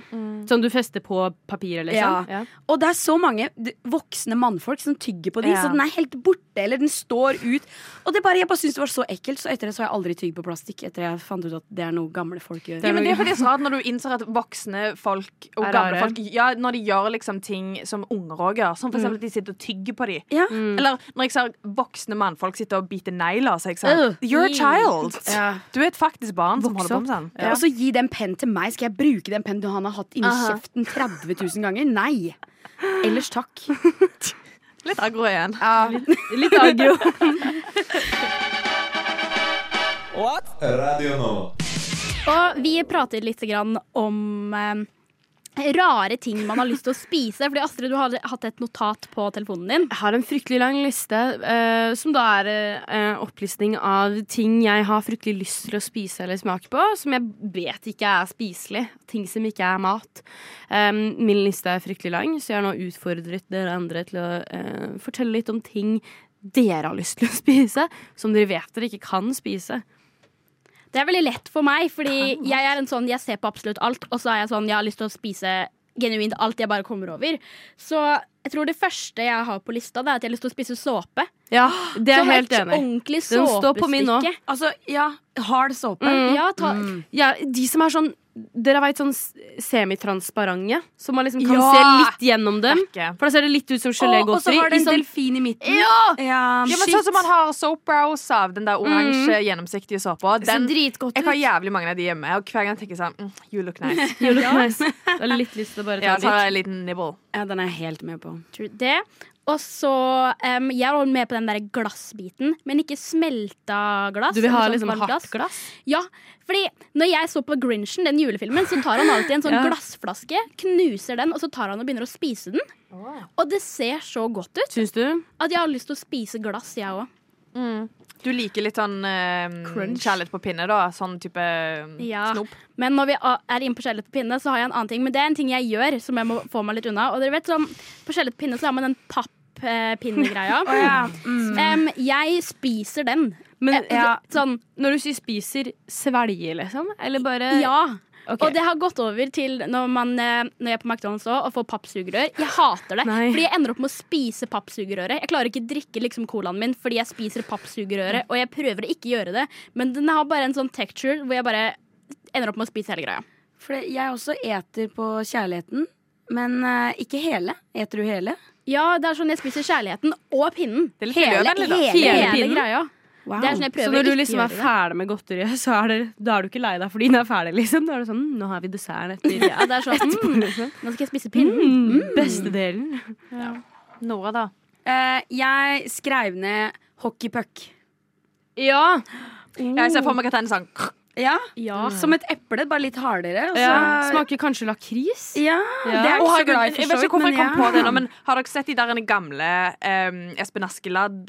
S8: Sånn du fester på papiret, liksom? Ja.
S6: Og det er så mange d- voksne mannfolk som tygger på de,
S7: Ja.
S6: så den er helt borte, eller den står ut. Og det bare, jeg bare syns det var så ekkelt, så etter det så har jeg aldri tygd på plastikk. Etter jeg fant ut at det er noe gamle folk gjør.
S7: Ja, men det er fordi det er så rart når du innser at voksne folk og
S8: Er
S7: gamle
S8: rare.
S7: folk ja, Når de gjør liksom ting som unger òg gjør, som for eksempel at de sitter og tygger på de.
S6: Ja.
S7: Eller når jeg ser voksne mannfolk sitte og bite negler, så er jeg sånn
S6: Øh.
S7: You're a child!
S6: Ja.
S7: Du er et faktisk barn som
S8: Vokse
S7: holder på med sånn.
S6: Og så gi den pennen til meg. Skal jeg bruke den pennen du han har hatt inni kjeften 30 000 ganger? Nei. Ellers takk.
S7: Litt aggro igjen.
S8: Litt agro.
S9: Radio Nova.
S5: Og vi prater litt grann om eh, rare ting man har lyst til å spise. Fordi Astrid, du har hatt et notat på telefonen din.
S8: Jeg har en fryktelig lang liste, eh, som da er uh, opplistning av ting jeg har fryktelig lyst til å spise eller smake på, som jeg vet ikke er spiselig. Ting som ikke er mat. Um, min liste er fryktelig lang, så jeg har nå utfordret dere andre til å eh, fortelle litt om ting dere har lyst til å spise, som dere vet dere ikke kan spise.
S5: Det er veldig lett for meg, fordi jeg er en sånn, jeg ser på absolutt alt, og så er jeg sånn, jeg har lyst til å spise genuint alt jeg bare kommer over. Så Jeg tror det første jeg har på lista, det er at jeg har lyst til å spise såpe.
S8: Ja, det er jeg
S5: Sånn
S8: helt
S5: et
S8: enig.
S5: ordentlig
S8: Den står på min nå.
S5: såpestykke.
S6: Altså, ja, hard såpe.
S5: Ja, ta,
S8: Ja, de som er sånn Dere veit sånn s- semitransparente? Som man liksom kan
S7: Ja.
S8: se litt gjennom dem?
S7: Ikke.
S8: For da ser det litt ut
S6: og
S8: som
S6: så
S8: gelégodteri.
S6: har det en
S8: i sånn-
S6: delfin i midten.
S7: Ja!
S6: Ja,
S7: Ja, men sånn som man har soap brows av, den der oransje, gjennomsiktige såpa. Den,
S5: dritgodt
S7: jeg har jævlig mange av de hjemme, og hver gang tenker jeg sånn mm, You look nice.
S8: You look nice. Jeg har litt lyst til å bare ta
S7: Ja,
S8: en
S7: tar
S8: bit.
S7: en liten nibble.
S6: ja, den er jeg helt med på.
S5: True det. Og så em, Jeg er også med på den der glassbiten, men ikke smelta glass.
S8: Du vil ha
S5: eller sånn
S8: liksom
S5: varmt
S8: hardt glass?
S5: Ja, fordi når jeg så på Grinchen, den julefilmen, så tar han alltid en sånn
S8: Ja.
S5: glassflaske, knuser den, og så tar han og begynner å spise den. Og det ser så godt ut
S8: Syns du?
S5: at jeg har lyst til å spise glass, jeg òg.
S7: Mm. Du liker litt sånn eh,
S5: Crunch.
S7: kjærlighet på pinne, da. Sånn type
S5: Ja.
S7: snop.
S5: Men når vi a- er inne på skjellet på pinne, så har jeg en annen ting. Men det er en ting jeg gjør som jeg må få meg litt unna. Og dere vet, sånn, På skjellet på pinne så har man den papp-pinnegreia.
S8: Mm.
S5: Em, jeg spiser den.
S8: Men
S5: Eh,
S8: ja,
S5: Sånn,
S8: når du sier spiser, svelger, liksom? Eller bare
S5: ja.
S8: Ok.
S5: Og det har gått over til når, man, eh, når jeg er på McDonald's også, og får pappsugerør. Jeg hater det,
S8: Nei.
S5: fordi jeg ender opp med å spise pappsugerøret. Jeg klarer ikke drikke liksom colaen min fordi jeg spiser pappsugerøret, og jeg prøver å ikke gjøre det, men den har bare en sånn texture hvor jeg bare ender opp med å spise hele greia.
S6: For det- jeg også eter på kjærligheten, men eh, ikke hele. Eter du hele?
S5: Ja, det er sånn jeg spiser kjærligheten og pinnen.
S7: Det er litt
S5: Hele,
S7: miljøvennlig, da.
S5: hele,
S8: Hele
S5: hele,
S8: pinnen?
S5: greia.
S6: Wow.
S5: Det er sånn jeg
S8: Så
S5: prøver
S8: når
S5: å
S8: du
S5: ikke
S8: liksom er
S5: gjøre det.
S8: ferdig med godteriet, så er det, da er du ikke lei deg fordi den er ferdig, liksom? Da er det sånn Nå har vi desserten etter.
S5: Ja, det er sånn, mm, nå skal jeg spise pinnen.
S8: Mm, beste delen.
S7: Nora, da.
S6: Eh, jeg skrev ned hockeypuck.
S8: Ja.
S7: Jeg ser for meg at den er sånn
S6: Ja,
S5: Ja.
S6: Mm. Som et eple, bare litt hardere. Og så,
S8: ja. Smaker kanskje lakris?
S6: Ja,
S8: Ja.
S6: det er jeg
S7: Å,
S6: ikke så
S7: herregud,
S6: glad i,
S7: jeg
S6: for
S7: vet
S6: så
S7: ikke
S6: vidt.
S7: hvorfor jeg kom på det nå,
S6: men
S7: men har dere sett de der gamle eh, Espen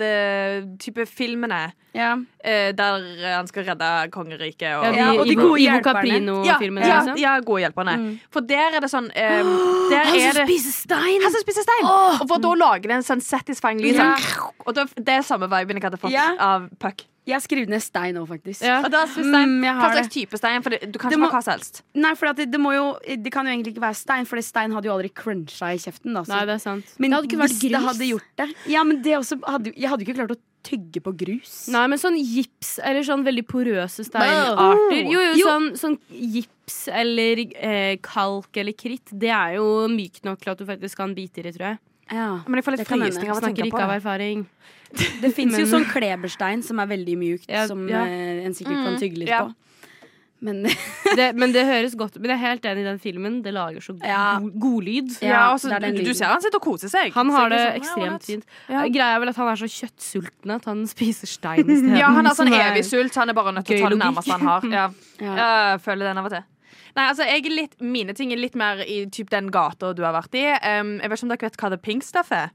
S7: Askeladd-type filmene?
S6: ja.
S7: eh, der han skal redde kongeriket og
S8: Ja, de,
S6: Ja, og de
S8: Ivo,
S6: gode
S8: Ivo
S6: hjelperne.
S8: Caprino-filmene.
S7: ja,
S8: liksom.
S7: ja, gode hjelperne. For der er det sånn eh, der er det,
S8: spiser stein!
S7: Han som spiser stein! Og for da lager det en sånn satisfying lyd.
S6: Ja.
S7: Sånn, og da, det er samme viben jeg hadde fått
S6: Ja.
S7: av puck.
S6: Jeg har skrevet ned stein nå, faktisk.
S8: Ja.
S7: Og da er stein,
S6: Mm, jeg
S7: hva
S6: har
S7: slags type stein? For det, du kan
S6: Det
S7: ikke
S6: må-
S7: ha hva som helst.
S6: Nei, for at det, det, må jo, det kan jo egentlig ikke være stein, for det stein hadde jo aldri cruncha i kjeften. Da, så-
S8: Nei, det er sant.
S6: men
S5: Det hadde ikke vært
S6: hvis det
S5: grus.
S6: hadde gjort det Ja, men det også hadde, Jeg hadde jo ikke klart å tygge på grus.
S8: Nei, men sånn gips eller sånn veldig porøse steinarter. Jo, jo, Sånn, sånn gips eller eh, kalk eller kritt, det er jo mykt nok til at du faktisk kan bite i det, tror jeg.
S6: Ja.
S7: Men jeg får litt
S6: Det kan hende.
S7: frysning av å tenke
S8: Snakker
S7: på
S8: ikke av
S7: det.
S8: erfaring.
S6: Det fins jo
S8: Men-
S6: sånn kleberstein som er veldig mjukt,
S8: Ja,
S6: som
S8: ja. Mm,
S6: eh, en sikkert kan tygge litt
S7: ja.
S6: på. Men
S8: Det, men det høres godt ut. Men jeg er helt enig i den filmen. Det lager så god,
S6: Ja.
S8: god lyd.
S7: Ja,
S6: Ja,
S7: og så-
S6: det er den
S7: du, du
S6: lyden.
S7: ser han sitter og koser seg.
S8: Han har
S7: Så
S8: det
S7: jeg er sånn, ja,
S8: ekstremt
S7: what?
S8: fint.
S7: Ja.
S8: Greia er vel at han er så kjøttsulten at han spiser stein isteden.
S7: Ja, han har sånn
S8: Som er-
S7: evig sult, så han er bare nødt til
S8: Gøy
S7: å ta det
S8: logikk.
S7: nærmeste han har. Ja.
S6: ja.
S7: Jeg føler den av og til. Nei, altså, jeg er litt, Mine ting er litt mer i typ, den gata du har vært i. Um, jeg vet ikke om dere vet hva det pink stuff er?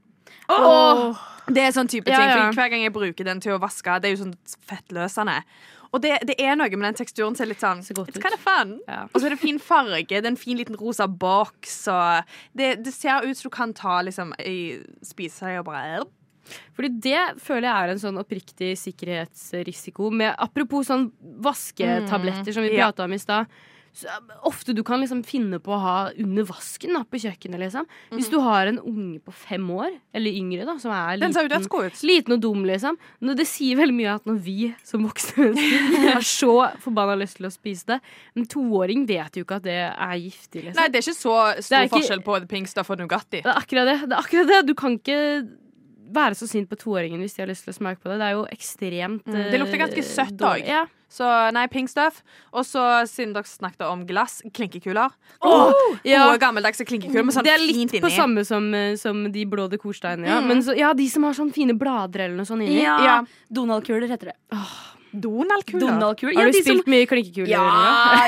S8: Åh!
S7: Det er sånn type
S8: Ja,
S7: ting,
S8: ja.
S7: for Hver gang jeg bruker den til å vaske, det er jo sånn fettløsende. Og det, det er noe med den teksturen som er litt sånn
S8: Ser godt
S7: It's
S8: ut.
S7: kind of fun.
S8: Ja.
S7: Og så er det fin farge. Det er en fin liten rosa boks. Og det, det ser ut som du kan ta liksom, i, spise det og bare
S8: Fordi det føler jeg er en sånn oppriktig sikkerhetsrisiko. Med, apropos sånn vasketabletter som vi
S7: Mm. ja.
S8: prata om i stad. Så, eh, Ofte du kan liksom finne på å ha under vasken da, på kjøkkenet. Liksom.
S7: Mm.
S8: Hvis du har en unge på fem år, eller yngre, da, som er
S7: Den ser jo
S8: liten,
S7: dødsgod ut.
S8: liten og dum, liksom. Nå, det sier veldig mye at når vi som voksne mennesker har så forbanna lyst til å spise det En toåring vet jo ikke at det er giftig, liksom.
S7: Nei, det er ikke så
S8: Det
S7: stor
S8: er ikke-
S7: forskjell på the pink stuff og Nugatti.
S8: Det er akkurat det. det, er akkurat det. Du kan ikke være så sint på toåringen hvis de har lyst til å smake på det. Det er jo ekstremt
S7: Mm, det lukter
S8: eh,
S7: ganske søtt
S8: dårlig.
S7: også.
S8: Ja.
S7: Så nei, pink stuff. Og så, siden dere snakket om glass, klinkekuler.
S8: Ja.
S7: Gode, gammeldagse klinkekuler med sånn
S8: Det er litt
S7: fint
S8: på
S7: inni.
S8: samme som, eh, som de blå dekorsteinene. Ja. Men så, ja, de som har sånn fine blader eller noe sånt inni.
S6: ja.
S7: Mm. Ja.
S6: Donald-kuler heter det.
S7: Donald-kuler.
S6: Donald-kuler.
S8: Har
S6: Ja,
S8: du
S6: de som-
S8: spilt mye klinkekuler?
S6: Ja,
S8: eller noe?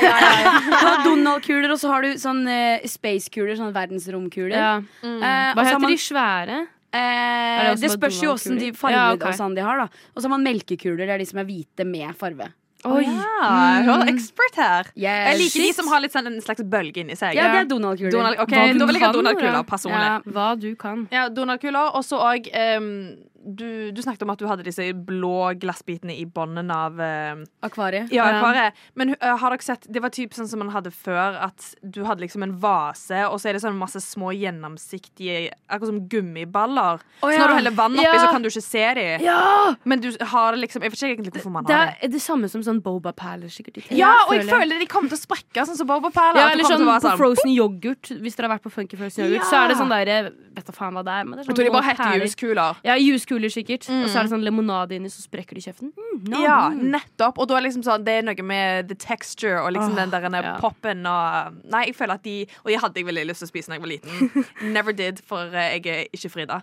S6: ja, ja, ja. Du har Donald-kuler, og så har du sånn eh, space-kuler, sånn verdensromkuler.
S8: Ja.
S7: Mm.
S6: Eh, og så
S8: Hva
S6: har
S8: heter
S6: man,
S8: de svære?
S6: Eh,
S8: Er det
S6: det,
S8: også bare
S6: spørs jo åssen de
S8: Donald-kuler?
S6: farger
S8: Ja, ok.
S6: og sånn de har, da. Og så har man melkekuler, det er de som er hvite med farve.
S8: Oi.
S7: Ja, jeg hører ekspert her.
S6: Yes.
S7: Jeg liker de som har litt sånn en slags bølge inni seg.
S6: Eh, Ja, det er Donald-kuler.
S7: Donald, ok,
S8: Hva du
S7: Da vil jeg ha
S8: kan, Nora.
S7: Donald-kuler personlig.
S8: Ja, hva du kan.
S7: Ja, Donald-kuler, og så òg du, du snakket om at du hadde disse blå glassbitene i bånden av eh,
S6: Akvariet.
S7: ja, akvariet. Men eh, har dere sett Det var typ sånn som man hadde før, at du hadde liksom en vase, og så er det sånn masse små gjennomsiktige Akkurat som gummiballer. Så når du heller vann oppi,
S8: Ja.
S7: så kan du ikke se dem.
S8: Ja!
S7: Men du har det liksom Jeg vet ikke egentlig hvorfor man
S8: Det
S7: har
S8: er,
S7: det.
S8: er det samme som sånn boba perler, sikkert. i te,
S7: Ja, og jeg føler de kommer til å sprekke, sånn som Boba Perler.
S8: ja,
S7: At det
S8: eller
S7: kommer
S8: sånn
S7: til å være
S8: på frozen yoghurt. Hvis dere har vært på funky frozen yoghurt, så er det sånn der jeg Vet da faen hva det er. Men det er sånn
S7: Jeg tror de bare
S8: små perler.
S7: heter juskuler.
S8: Ja, juskuler, sikkert. Og så er det sånn limonade inni, så sprekker det i kjeften. Mm, no.
S7: Ja, nettopp. Og da er liksom sånn, det er noe med the texture og liksom den der denne
S8: ja.
S7: poppen og um, Nei, jeg føler at de Og jeg hadde jeg veldig lyst til å spise da jeg var liten. Never did, for eh, jeg er ikke Frida.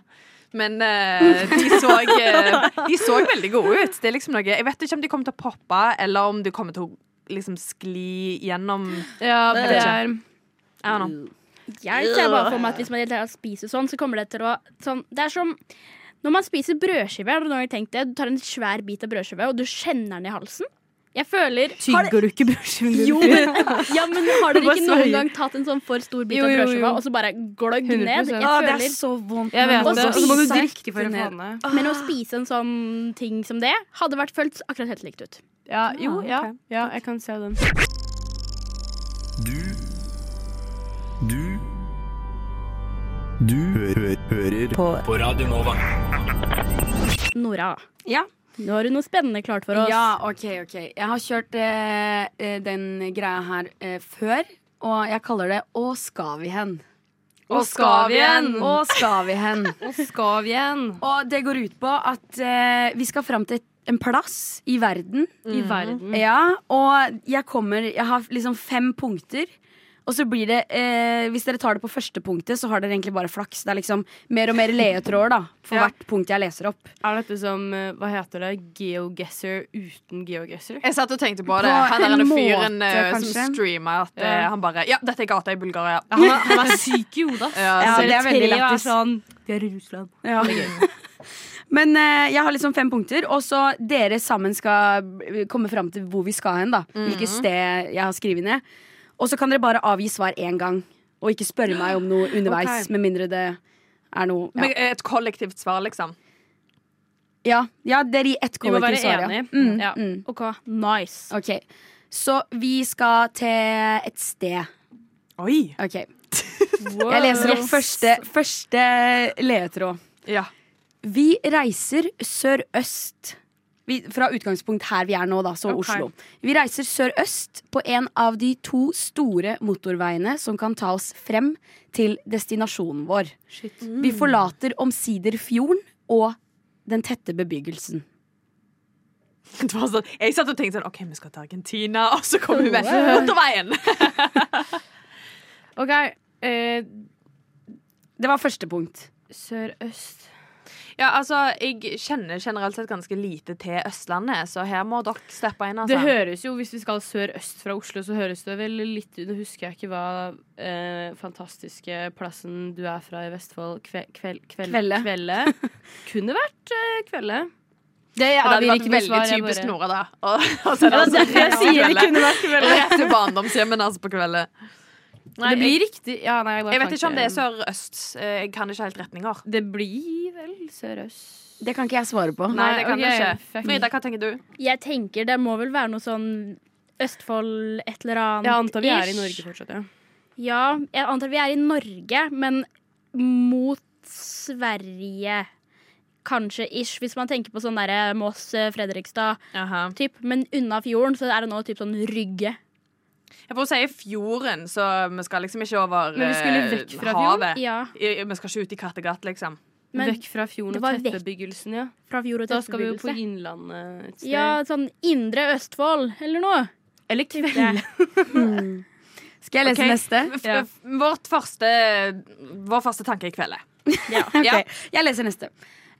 S7: Men eh, de, så, eh, de så veldig gode ut. Det er liksom noe Jeg vet ikke om de kommer til å poppe, eller om de kommer til å liksom skli gjennom
S8: Ja, det er
S7: I don't know.
S5: Jeg ser bare for meg at hvis man helt ærlig spiser sånn, så kommer det til å sånn, Det er som når man spiser brødskive. Har du noen gang tenkt det? Du tar en svær bit av brødskive, og du kjenner den i halsen. Jeg føler har,
S8: Tygger du ikke brødskiven din?
S5: jo, men, ja, men har dere
S8: Bare
S5: ikke noen
S8: sveier.
S5: gang tatt en sånn for stor bit
S8: Jo,
S5: av
S8: jo,
S5: brødskiva,
S8: jo.
S5: og så bare gløgg ned?
S8: 100%.
S5: Jeg
S6: Å, det
S5: føler,
S6: er så vondt.
S8: Jeg vet
S5: Og
S8: det.
S5: så
S8: Og så må du
S5: spiser
S8: drikke for å
S6: ned.
S8: få ned.
S5: Men å spise en sånn ting som det, hadde vært følt akkurat helt likt ut.
S8: Ja, jo, ja.
S7: ok.
S8: ja. Jeg kan se den.
S9: Du Du Du hø hø hører på. på Radio Nova.
S5: Nora,
S6: Ja.
S5: nå har du noe spennende klart for oss.
S6: Ja, ok, ok. Jeg har kjørt eh, eh, den greia her eh, før, og jeg kaller det Å, skal vi hen?
S8: Å, skal vi hen?
S6: Å, skal vi hen?
S8: Og skav igjen.
S6: Og det går ut på at eh, vi skal fram til en plass i verden.
S8: I verden.
S6: Ja, og jeg kommer Jeg har liksom fem punkter. Og så blir det, eh, Hvis dere tar det på første punktet, så har dere egentlig bare flaks. Det er liksom mer og mer ledetråder da, for
S7: Ja.
S6: hvert punkt jeg leser opp.
S8: Er dette som eh, Hva heter det? Geoguesser uten geoguesser?
S7: Jeg satt og tenkte på det.
S6: På
S7: Han er
S6: en
S7: den fyren
S6: måte,
S7: eh,
S6: kanskje.
S7: som streamer at eh,
S8: Ja.
S7: han bare Ja, dette er gata i Bulgaria.
S8: Ja, han, er, han er syk i hodet, ass.
S7: Ja,
S8: Så
S6: det er
S8: tre
S6: veldig lættis.
S8: sånn Vi er i Russland.
S6: Men eh, jeg har liksom fem punkter, og så dere sammen skal eh, komme fram til hvor vi skal hen. da
S8: Mhm.
S6: Hvilket sted jeg har skrevet ned. Og så kan dere bare avgi svar én gang, og ikke spørre meg om noe underveis. Med mindre det er noe
S7: Men,
S6: Ja,
S7: eh, Et kollektivt svar, liksom.
S6: ja, ja dere gir ett
S8: Vi må
S6: kollektivt
S8: være
S6: svar. Ja.
S8: enige.
S6: Mm,
S8: Ja.
S6: mm.
S5: OK, nice.
S6: Ok, Så vi skal til et sted.
S7: Oi!
S6: Ok, Jeg leser opp første, første ledetråd.
S7: Ja.
S6: Vi reiser sørøst. Vi, fra utgangspunkt her vi er nå, da, så
S8: Ok.
S6: Oslo. Vi reiser sørøst på en av de to store motorveiene som kan ta oss frem til destinasjonen vår.
S8: Shit.
S6: Vi forlater omsider fjorden og den tette bebyggelsen.
S7: Det var sånn, jeg satt og tenkte sånn OK, vi skal til Argentina, og så kommer vi med motorveien.
S8: OK. Eh,
S6: Det var første punkt.
S8: Sørøst.
S7: Ja, altså, jeg kjenner generelt sett ganske lite til Østlandet, så her må dere steppe inn.
S8: Det
S7: Altså.
S8: høres jo, Hvis vi skal sørøst fra Oslo, så høres det vel litt ut Nå husker jeg ikke hva eh, fantastiske plassen du er fra i Vestfold, kve, kveld, kveld,
S6: Kvelde.
S8: Kvelde. Kunne vært eh, Kvelde. Det
S7: ja, det hadde
S8: avgir
S7: vært
S8: ikke mitt
S7: veldig
S8: svar, jeg
S7: typisk
S8: bare-
S7: Nora, da. Og, og så er det altså,
S8: Jeg sier det kunne vært Kvelde.
S7: Rett til barndomshjemmen altså, på kvelden. Nei,
S8: det blir
S7: jeg,
S8: riktig ja, nei, jeg, bare
S7: jeg vet ikke om det er
S8: fant
S7: sørøst. Eh, Jeg kan ikke helt retninger.
S8: Det blir vel sørøst.
S6: Det kan ikke jeg svare på.
S7: Nei, det kan
S8: ok,
S7: jeg ikke.
S8: fuck.
S7: Frida, hva tenker du?
S5: Jeg tenker det må vel være noe sånn Østfold, et eller annet.
S8: Jeg antar vi er i
S5: ish.
S8: Norge fortsatt, ja.
S5: Ja, jeg antar vi er i Norge, men mot Sverige. Kanskje ish, hvis man tenker på sånn derre Moss, eh, Fredrikstad,
S7: Aha.
S5: typ. Men unna fjorden så er det nå typ sånn Rygge.
S7: Jeg får si fjorden, så vi skal liksom ikke over
S8: Men vi skulle
S7: eh,
S8: vekk fra
S7: havet.
S5: Ja,
S7: I- Vi skal ikke ut i Kattegat, liksom.
S5: men
S8: Vekk fra
S5: det
S8: fjorden og
S5: var vekk.
S8: tettbebyggelsen, ja.
S5: fra fjord og
S8: Da skal vi jo på
S5: tettbebyggelse.
S8: Innlandet et sted.
S5: Ja, sånn Indre Østfold eller noe.
S8: Eller Kvelde.
S6: Mm. Skal jeg lese
S7: Ok.
S6: neste?
S7: F-
S8: Ja.
S7: f- Vårt første, vår første tanke i kveld. er-
S6: Ok,
S7: Ja.
S6: Jeg leser neste.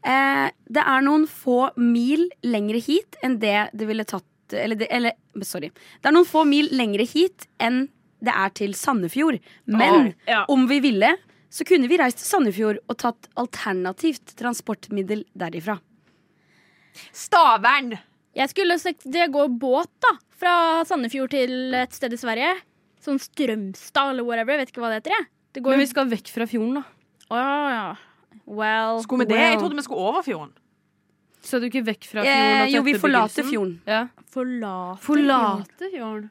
S6: Eh, det er noen få mil lengre hit enn det det ville tatt eller, det, eller Sorry. Det er noen få mil lengre hit enn det er til Sandefjord. Men
S8: ja.
S6: om vi ville, så kunne vi reist til Sandefjord og tatt alternativt transportmiddel derifra.
S7: Stavern!
S5: Jeg skulle sagt det går båt da fra Sandefjord til et sted i Sverige. Sånn Strømstad eller whatever. Jeg vet ikke hva det heter. jeg. Det går
S8: Men vi skal vekk fra fjorden, da.
S5: Å, ja. Well,
S7: Skulle vi det? Jeg trodde vi skulle over fjorden.
S8: Så du ikke vekk fra fjorden?
S6: Eh,
S8: og
S6: jo, vi
S8: tettbebyggelsen?
S6: forlater fjorden.
S8: Ja.
S5: Forlate,
S8: Forlate fjorden.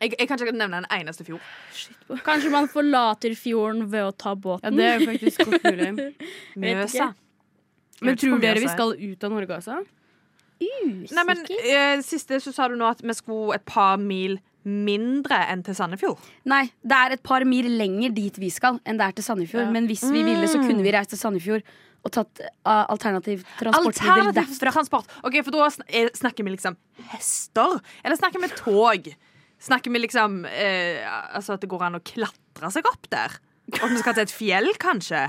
S7: Jeg, jeg kan ikke nevne en eneste fjord.
S5: fjorden. Kanskje man forlater fjorden ved å ta båten.
S8: Ja, det er faktisk godt mulig.
S7: Mjøsa.
S8: Men tror dere vi
S7: Mjøsa.
S8: skal ut av Norge, altså?
S7: Nei, men eh, Siste så sa du nå at vi skulle et par mil mindre enn til Sandefjord.
S6: Nei, det er et par mil lenger dit vi skal enn det er til Sandefjord. Men hvis vi ville, så kunne vi
S8: Mm.
S6: reist til Sandefjord og tatt eh, alternativ transportmiddel
S7: Alternativ
S6: derfra.
S7: transport. Ok, For da sn eh, snakker vi liksom hester? Eller snakker vi tog? Snakker vi liksom eh, altså at det går an å klatre seg opp der? Og at vi skal til et fjell, kanskje?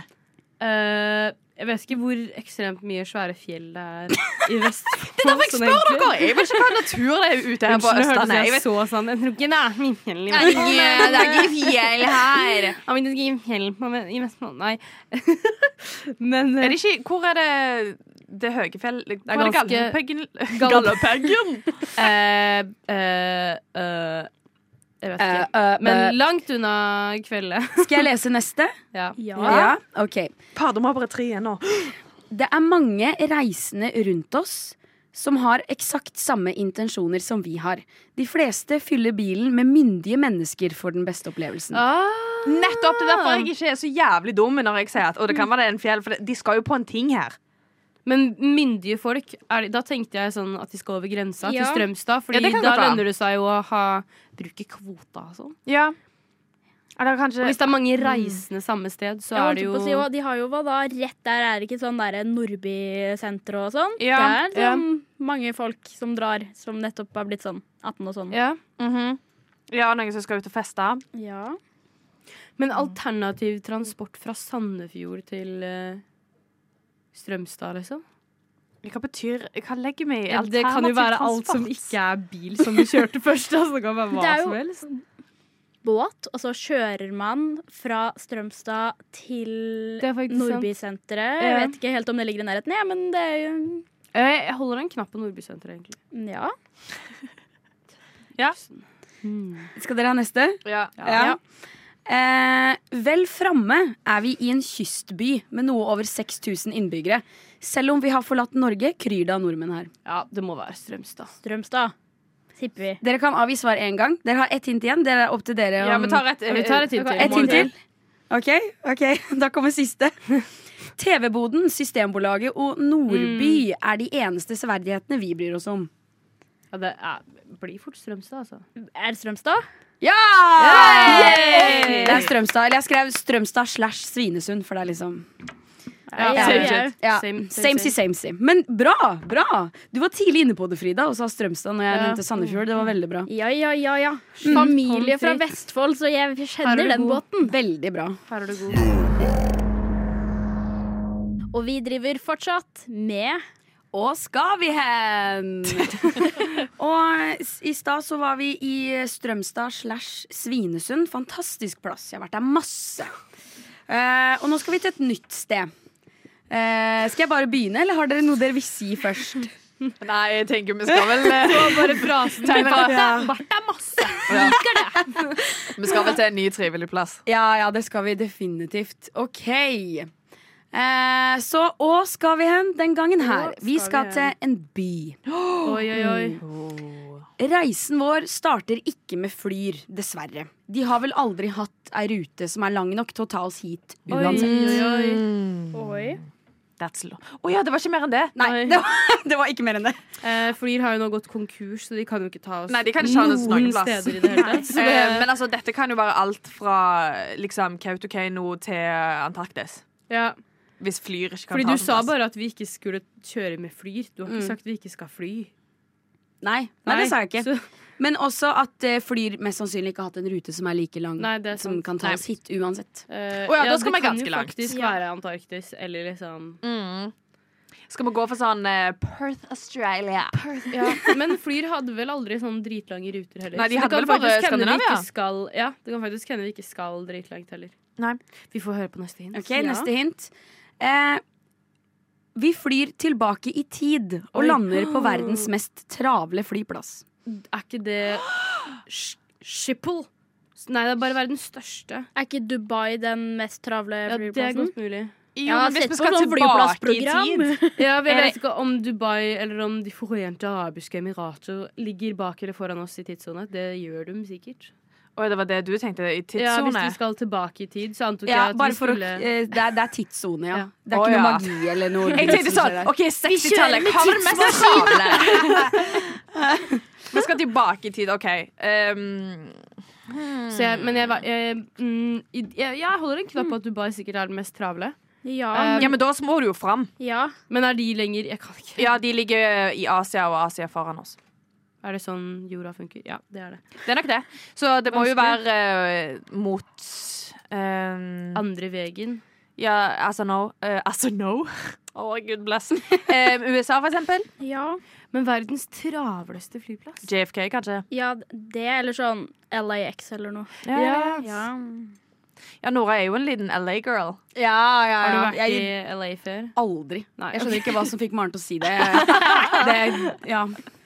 S8: Eh, jeg vet ikke hvor ekstremt mye svære fjell det er i Vestfold.
S7: Det er derfor
S8: sånn
S7: jeg spør dere! Jeg vet ikke hva natur det er ute her på
S8: Unnskyld, nå hørtes
S7: Østlandet.
S8: jeg
S7: Jeg vet
S8: så sånn Jeg tror ikke det er min fjell i
S7: Nei, det er ikke fjell her.
S8: Ja, men det skal gi fjell på i Vestfold. Nei. men eh,
S7: Er det ikke, hvor er det det høye fjell Hvor er det
S8: ganske-
S7: Galdhøpeggen?
S8: Galdhøpeggen? eh, eh, eh, jeg vet ikke.
S6: Eh, eh,
S8: Men
S6: eh,
S8: langt unna kveldet.
S6: skal jeg lese neste?
S8: ja.
S5: Ja.
S6: Ok.
S7: Fader, vi har bare tre igjen nå.
S6: Det er mange reisende rundt oss som har eksakt samme intensjoner som vi har. De fleste fyller bilen med myndige mennesker for den beste opplevelsen.
S7: Nettopp, det er derfor jeg ikke er så jævlig dum når jeg sier at «Å, det kan være det er en fjell, for det- de skal jo på en ting her.
S8: Men myndige folk er, Da tenkte jeg sånn at de skal over grensa til
S5: Ja.
S8: Strømstad.
S7: Ja,
S8: Fordi
S7: det kan
S8: da
S7: godt være.
S8: lønner det seg jo å ha, bruke kvota og sånn.
S7: Ja. Eller
S8: Og
S7: kanskje
S8: hvis det er mange reisende samme sted, så
S5: Jeg
S8: er
S5: holdt
S8: det jo
S5: på å si, og de har jo hva da, rett der er det ikke sånn der Nordby-senter og sånn.
S7: Ja,
S5: det er sånn mange folk som drar, som nettopp har blitt sånn 18 og sånn.
S8: ja.
S7: Mhm. Ja, noen som skal ut og feste.
S5: Ja.
S8: Men alternativ transport fra Sandefjord til eh, Strømstad, liksom?
S7: Hva betyr Hva legger vi i
S8: Ja, det kan jo
S7: alternativ
S8: være alt som
S7: transport?
S8: ikke er bil, som vi kjørte først. Altså, det kan være
S5: Det
S8: hva
S5: er jo-
S8: som helst.
S5: Båt, og så kjører man fra Strømstad til
S8: Det er faktisk sant.
S5: Nordbysenteret.
S8: Ja.
S5: Jeg vet ikke helt om det ligger i nærheten, ja, men det er jo mm,
S8: Eh, Jeg holder en knapp på Nordbysenteret, egentlig.
S5: Ja.
S7: Ja.
S6: Skal dere ha neste?
S7: Ja.
S6: Ja. Eh, vel framme er vi i en kystby med noe over 6000 innbyggere. Selv om vi har forlatt Norge, kryr det av nordmenn her.
S8: Ja, det må være Strømstad.
S5: Strømstad, tipper vi.
S6: Dere kan avgi svar én gang. Dere har ett hint igjen. Dere er opp til dere.
S7: Ja,
S6: om-
S7: vi tar et,
S8: Ja, vi tar et hint til.
S6: Et hint til. Ok, ok, da kommer siste. TV-boden, Systembolaget og
S8: Mm.
S6: Nordby er de eneste severdighetene vi bryr oss om.
S8: Ja, det er, blir fort Strømstad, altså.
S5: Er det Strømstad?
S6: Ja! Det er Strømstad. Eller jeg skrev Strømstad slash Svinesund, for det er liksom
S8: Ja,
S5: ja,
S8: same
S5: ja.
S8: shit.
S6: ja.
S8: Same, same,
S6: Samesy, samesy. Men bra! bra Du var tidlig inne på det, Frida, og sa Strømstad når jeg
S8: Ja.
S6: nevnte Sandefjord. Det var veldig bra.
S5: Ja, ja, ja. ja. Familie
S8: pommes
S5: fra
S8: frites.
S5: Vestfold, så jeg
S8: Mm. Her er du
S5: kjenner den
S8: god.
S5: båten.
S6: Veldig bra.
S8: Her er du god.
S5: Og vi driver fortsatt med
S6: Og skal vi hen? og s- i stad så var vi i Strømstad slash Svinesund. Fantastisk plass. Jeg har vært der masse. Eh, og nå skal vi til et nytt sted. Eh, skal jeg bare begynne, eller har dere noe dere vil si først?
S7: Nei, jeg tenker vi skal vel
S8: Bare frasen.
S5: Bartha Masse.
S7: Vi skal vel til en ny trivelig plass.
S6: Ja, ja, det skal vi definitivt. OK. Eh, så og skal vi hen den gangen her? Vi skal til en by.
S8: Oi, oi, oi.
S6: Reisen vår starter ikke med flyr, dessverre. De har vel aldri hatt ei rute som er lang nok til å ta oss hit uansett.
S8: Oi, oi.
S5: Oi.
S7: That's low. Å ja, det var ikke mer enn det.
S6: Nei, det var, det var ikke mer enn det.
S8: Eh, Flyr har jo nå gått konkurs, så de kan jo ikke ta oss
S7: Nei, de kan ikke ta oss noen plass.
S8: steder i det hele tatt. Så
S7: Eh,
S8: det,
S7: men altså, dette kan jo være alt fra liksom, Kautokeino til Antarktis.
S8: ja.
S7: Hvis flyr ikke kan
S8: Fordi
S7: ta
S8: du
S7: oss en
S8: sa
S7: plass.
S8: bare at vi ikke skulle kjøre med Flyr. Du har ikke
S6: Mm.
S8: sagt vi ikke skal fly.
S6: Nei, nei, det sa jeg ikke.
S8: så-
S6: Men også at eh, flyr mest sannsynlig ikke har hatt en rute som er like lang
S8: Nei, det er
S6: som
S8: sant.
S6: kan ta oss hit uansett.
S8: Eh,
S7: Å ja, da skal man
S8: det kan
S7: ganske
S8: jo
S7: langt.
S8: faktisk
S5: Ja.
S8: være Antarktis eller liksom
S7: Mm. Skal vi gå for sånn eh, Perth, Australia?
S8: Men Flyr hadde vel aldri sånne dritlange ruter heller.
S7: Nei, de
S8: Så det
S7: hadde
S8: kan
S7: vel bare
S8: faktisk hende vi
S7: Skandinavia.
S8: ikke Skal, ja, det kan faktisk hende vi ikke skal dritlangt heller.
S7: Nei.
S8: Vi får høre på neste hint.
S6: Ok, neste hint. Eh, vi flyr tilbake i tid og lander på verdens mest travle flyplass.
S8: Er ikke det Sh- Schiphol? Nei, det er bare verdens største.
S5: Er ikke Dubai den mest travle
S8: Ja, det er
S5: flyplassen?
S8: godt mulig.
S7: Jo,
S5: Jeg har
S7: men hvis
S5: sett
S7: vi
S5: på
S7: skal
S5: sånn
S7: tilbake i tid
S5: flyplassprogram.
S8: Ja, vi
S7: Er
S8: vet ikke om Dubai eller om De forente arabiske emirater ligger bak eller foran oss i tidssone. Det gjør de sikkert.
S7: Oi, det var det du tenkte? I
S8: Ja, hvis
S7: tidssone?
S8: de skal tilbake i tid, så antok
S6: Ja,
S8: jeg at
S6: bare
S8: vi
S6: for å,
S8: skulle
S6: eh, det, er, det er tidssone, ja.
S8: Ja.
S6: Det er
S7: Å,
S6: ikke noe
S7: ja.
S6: magi eller noe.
S7: Jeg tenkte sånn OK, 60-tallet. Hva var det mest sjale? Vi skal tilbake i tid, OK. Um,
S8: Så jeg, men jeg, var- jeg, mm, i- jeg, jeg holder en knapp på at Dubai sikkert er den mest travle.
S5: Ja,
S8: Eh,
S5: men,
S7: ja, men da må du jo fram.
S5: ja.
S8: Men er de lenger Jeg kan ikke.
S7: Ja, de ligger i Asia og Asia foran oss.
S8: Er det sånn jorda funker? Ja, det er det.
S7: Det er nok det. Så det må jo være eh, mot um,
S8: Andre veien.
S7: Ja, altså no. eh, altså no. Å, gud bless. Um, USA, for eksempel.
S5: ja.
S8: Men verdens travleste flyplass?
S7: JFK, kanskje.
S5: Ja, det eller sånn LAX eller noe.
S7: Ja,
S5: Ja.
S7: ja Nora er jo en liten LA-girl.
S6: Ja, ja,
S8: Har du
S6: ja.
S8: vært
S6: Jeg
S8: i LA før?
S6: aldri.
S8: Nei,
S6: Jeg skjønner ikke hva som fikk Maren til å si det. det ja.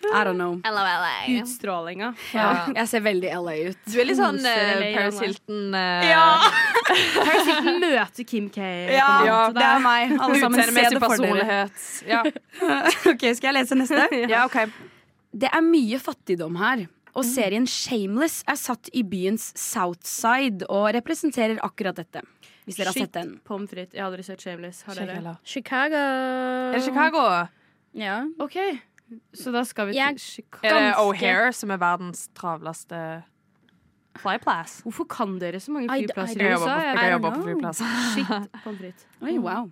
S6: I don't know.
S7: LOLA.
S8: Utstrålinga.
S7: Ja.
S6: Jeg ser veldig LA ut.
S7: Du er litt sånn eh,
S8: LA,
S7: Paris
S8: Anna.
S7: Hilton. eh,
S8: Paris Hilton møter Kim K.
S6: Ja,
S8: på en måte.
S6: det er meg. Alle sammen se
S7: Utseendemessig
S6: det for dere.
S7: personlighet. Ja.
S6: Ok, Skal jeg lese neste?
S7: ja, OK.
S6: Det er mye fattigdom her. Og serien Shameless er satt i byens Southside og representerer akkurat dette. Hvis dere har
S8: Shit.
S6: sett den.
S8: Pommes frites. Jeg har aldri sett Shameless. Har dere?
S7: Er Mm.
S5: Chicago.
S7: det Chicago?
S5: Ja.
S8: OK, så da skal vi til
S5: Jeg-
S8: Chicago.
S7: Er det oh,
S5: Ganske.
S7: O'Hare som er verdens travleste flyplass?
S8: Hvorfor kan dere så mange
S5: I- I
S8: flyplasser i
S7: Jeg
S5: don't
S8: USA?
S7: jobber på,
S8: Jeg-
S7: jeg
S5: I
S7: jobber
S5: don't
S7: på
S5: know.
S7: flyplass.
S8: Shit, pommes frites.
S6: Oi, wow.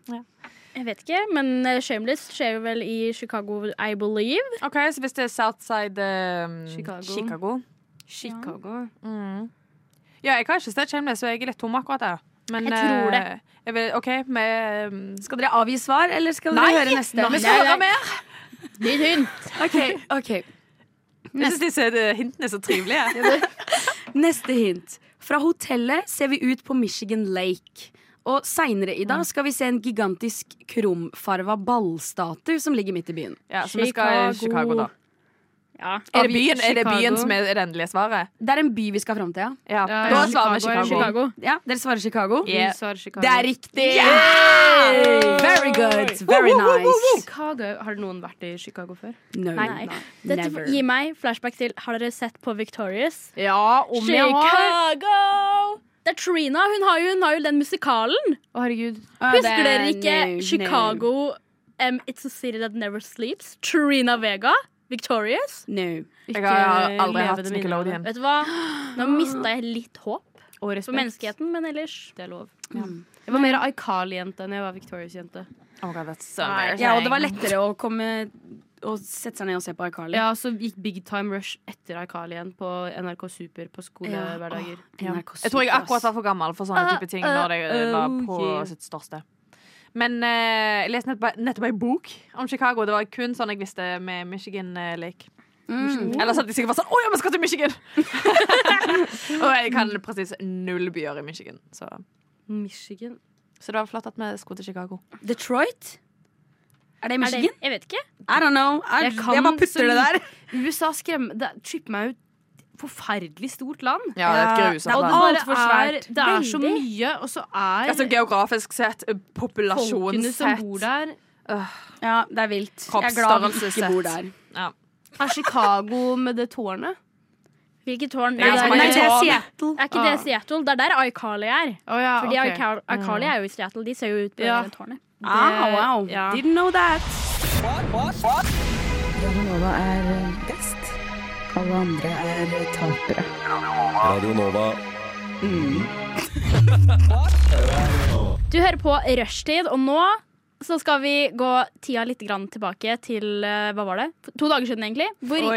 S5: Jeg vet ikke, men eh, Shameless skjer jo vel i Chicago, I believe.
S7: OK, så hvis det er Southside um,
S8: Chicago.
S7: Chicago,
S8: Chicago.
S7: Mm. Ja, jeg har ikke sett Shameless, så jeg er litt tom akkurat der. Men,
S5: Jeg tror det.
S7: eh, Jeg vil, OK, med um,
S6: Skal dere avgi svar, eller skal dere høre neste?
S7: Vi skal høre mer!
S5: Ny hint.
S6: Ok, ok.
S7: Jeg syns disse eh, hintene er så trivelige.
S6: Neste hint. Fra hotellet ser vi ut på Michigan Lake. Og seinere i dag skal vi se en gigantisk krumfarva ballstatue som ligger midt i byen.
S7: Ja, så vi skal
S5: Chicago.
S7: i Chicago, da.
S5: Ja.
S7: Er det byen, er det
S8: Chicago.
S7: byen som er det endelige svaret?
S6: Det er en by vi skal fram til, ja.
S7: Ja,
S8: Ja,
S7: Da
S8: ja.
S7: svarer vi
S8: Chicago er
S7: Chicago.
S5: Chicago.
S6: ja. Dere svarer Chicago?
S7: Yeah.
S8: Vi svarer Chicago.
S6: Det er riktig! Very good. Very nice.
S8: Chicago. Har noen vært i Chicago før?
S6: No,
S5: Nei.
S6: no,
S5: Dette
S6: never.
S5: gir meg flashback til Har dere sett på Victorious?
S8: Ja,
S5: Chicago! Det er Trina. Hun har jo, hun har jo den musikalen.
S8: Å, herregud.
S6: Ah, det
S5: Husker
S6: er eh,
S5: dere ikke
S6: no, no.
S5: Chicago um, It's a city that never sleeps? Trina Vega? Victorious?
S6: No.
S7: Jeg har
S8: Ikke
S7: aldri hatt
S8: levende minner av
S7: Nickelodeon.
S5: Vet du hva? Nå mista jeg litt håp
S8: Og
S5: for
S8: respekt.
S5: menneskeheten, men ellers
S8: Det er lov. Jeg var mer iCarl-jente enn jeg var Victorious-jente.
S7: Oh my God, that's so
S8: Nei.
S7: embarrassing.
S6: Ja, og det var lettere å komme og sette seg ned og se på iCarly.
S8: Ja, så gikk Big Time Rush etter iCarl igjen på NRK Super på skolehverdager.
S6: Ja. NRK
S7: Jeg tror jeg
S6: Super,
S7: akkurat
S6: ass.
S7: var for gammel for sånne type ting når det var på
S8: yeah.
S7: sitt største. Men eh, jeg leste nettopp, nettopp en bok om Chicago. Det var kun sånn jeg visste med Michigan eh, Lake.
S6: Mm.
S7: Ellers hadde de sikkert vært sånn Å ja, vi skal til Michigan! og jeg kan presis null byer i Michigan. Så.
S8: Michigan.
S7: så det var flott at vi skulle til Chicago.
S6: Detroit? Er det i
S5: er det,
S6: Michigan?
S5: Jeg vet ikke.
S6: I don't know. I,
S8: Jeg
S6: jeg,
S8: kan
S6: bare putter
S8: så
S6: det der.
S8: USA skremmer Det tripper meg ut. Forferdelig stort land.
S7: Ja, det er et grusomt
S6: Ja,
S7: land.
S8: Bare
S6: Altfor
S8: er,
S6: svært.
S8: det er så mye, og så er
S7: Altså, geografisk sett,
S8: folkene som
S7: populasjonssett
S8: bor der
S6: Ja, det er vilt. Jeg er glad vi
S7: Kroppsstørrelse
S6: ikke bor der.
S8: Er Chicago med det tårnet?
S5: Hvilket tårn?
S7: er
S5: Nei, det
S7: ganske
S5: er,
S7: mange
S5: det er,
S7: tårn.
S6: Seattle.
S5: er ikke det Seattle? Det er der iCarly er.
S8: Oh, ja,
S5: Fordi iCar- iCarly er jo i Seattle. De ser jo ut på
S8: Mm. Ja.
S5: det tårnet.
S6: Ah, wow.
S8: Ja.
S6: Didn't know that.
S9: Radio Nova.
S5: Du hører på Rushtid, og nå så skal vi gå tida litt grann tilbake til eh, Hva var det? To dager siden, egentlig. Hvor,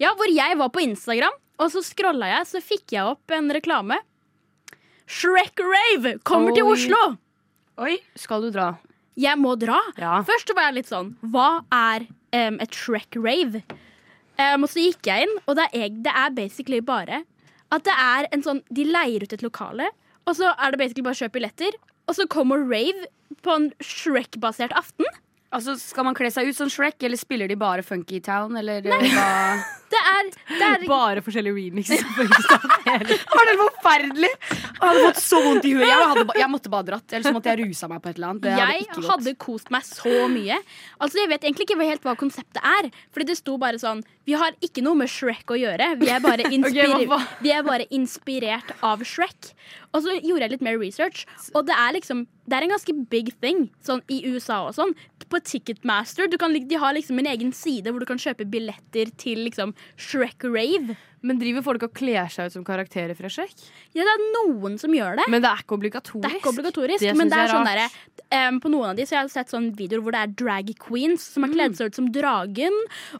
S5: ja, hvor jeg var på Instagram, og så scrolla jeg, så fikk jeg opp en reklame. Shrek Rave kommer til
S8: Oi.
S5: Oslo!
S8: Oi, skal du dra?
S5: Jeg må dra.
S8: Ja.
S5: Først så var jeg litt sånn Hva er em, et Shrek Rave? Em, og så gikk jeg inn, og det er, eg- det er basically bare at det er en sånn De leier ut et lokale, og så er det basically bare å kjøpe billetter, og så kommer rave på en Shrek-basert aften.
S6: Altså, Skal man kle seg ut som Shrek, eller spiller de bare Funky Town? Eller eh, hva?
S5: Det er, det er
S8: Bare forskjellige remixer.
S6: Var det forferdelig? Jeg hadde fått så vondt i huet. Jeg, hadde, ba- jeg måtte bare dratt. Ellers måtte jeg rusa meg på et eller annet. Det hadde
S5: jeg
S6: ikke gått.
S5: hadde kost meg så mye. Altså, Jeg vet egentlig ikke helt hva konseptet er. Fordi det sto bare sånn Vi har ikke noe med Shrek å gjøre. Vi er bare, inspir
S8: hva faen?
S5: vi er bare inspirert av Shrek. Og så gjorde jeg litt mer research, og det er liksom Det er en ganske big thing sånn i USA og sånn. På Ticketmaster du kan, lik- de har liksom en egen side hvor du kan kjøpe billetter til liksom Shrek-rave.
S8: Men driver folk og kler seg ut som karakterer fra Shrek?
S5: Ja, det er noen som gjør det.
S8: Men det er ikke obligatorisk.
S5: Det er ikke obligatorisk,
S8: Det
S5: men
S8: synes
S5: det er
S8: jeg er
S5: sånn derre
S8: rart.
S5: em, På noen av de så jeg har sett sånne videoer hvor det er drag queens som har kledd seg ut som dragen.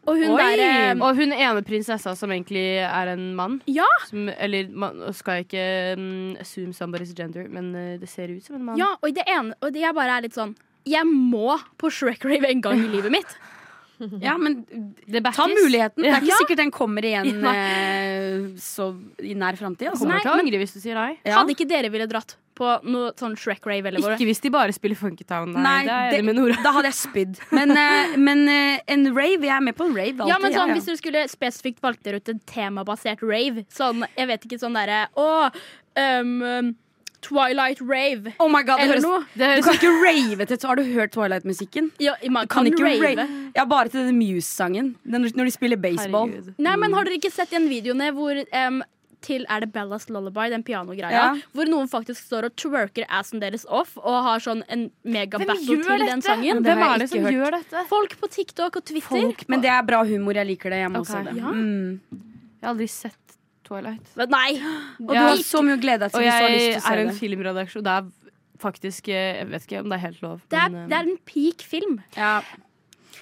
S5: Og hun
S8: Oi!
S5: der eh, em,
S8: Og hun ene prinsessa som egentlig er en mann.
S5: ja,
S8: Som, eller man nå skal jeg ikke mm, assume somebody's gender, men eh, det ser ut som en mann.
S5: ja, og det ene Og det jeg bare er litt sånn Jeg må på Shrek Rave en gang i livet mitt.
S6: Ja, men
S8: Det backes.
S6: ta muligheten. Det er ikke
S5: Ja.
S6: sikkert den kommer igjen eh, så i nær framtid. Altså.
S8: Kommer
S5: Nei, Eh,
S8: til å angre hvis du sier nei.
S6: Ja.
S5: Hadde ikke dere ville dratt på noe sånn Shrek Rave eller hvor
S8: Ikke hvis de bare spiller Funkytown. Nei,
S6: Nei,
S8: det er jeg
S6: det-
S8: enig med Nora.
S6: Da hadde jeg spydd. Men, eh, men eh, en rave Jeg er med på en rave. Alltid.
S5: ja, men sånn,
S6: ja, ja.
S5: Hvis dere skulle spesifikt valgt dere ut en temabasert rave Sånn, jeg vet ikke, sånn derre Å, em, em, Twilight Rave.
S6: Oh my god, det
S5: Eller
S6: høres
S5: noe.
S8: Det
S6: Du
S8: høres
S6: kan ikke rave til Har du hørt Twilight-musikken?
S5: Ja, man
S6: Du kan
S5: kan,
S6: ikke
S5: rave.
S6: rave. Ja, bare til den Muse-sangen. Den- Når de spiller baseball.
S8: Herregud.
S5: Nei, men
S6: Mm.
S5: har dere ikke sett den videoene hvor em, til er det Bellas Lullaby, den pianogreia,
S6: Ja.
S5: hvor noen faktisk står og twerker assen deres off og har sånn en megabattle til den sangen?
S8: Hvem
S6: har
S8: er det
S6: jeg
S8: som
S6: ikke hørt.
S8: gjør dette?
S5: Folk på TikTok og Twitter.
S6: Men det er bra humor. Jeg liker det. Jeg må
S8: Ok.
S6: også det.
S5: Ja.
S6: Mm.
S8: Jeg har aldri sett Twilight.
S5: Men Nei!
S6: Og du
S8: Ja.
S6: har så mye å glede deg til
S8: Og
S6: hvis du har
S8: jeg
S6: lyst
S8: er
S6: til
S8: en
S6: å se det.
S8: filmredaksjon. Det er faktisk eh, Jeg vet ikke om det er helt lov.
S5: Det er,
S8: men, eh,
S5: det er en peak film.
S6: Ja.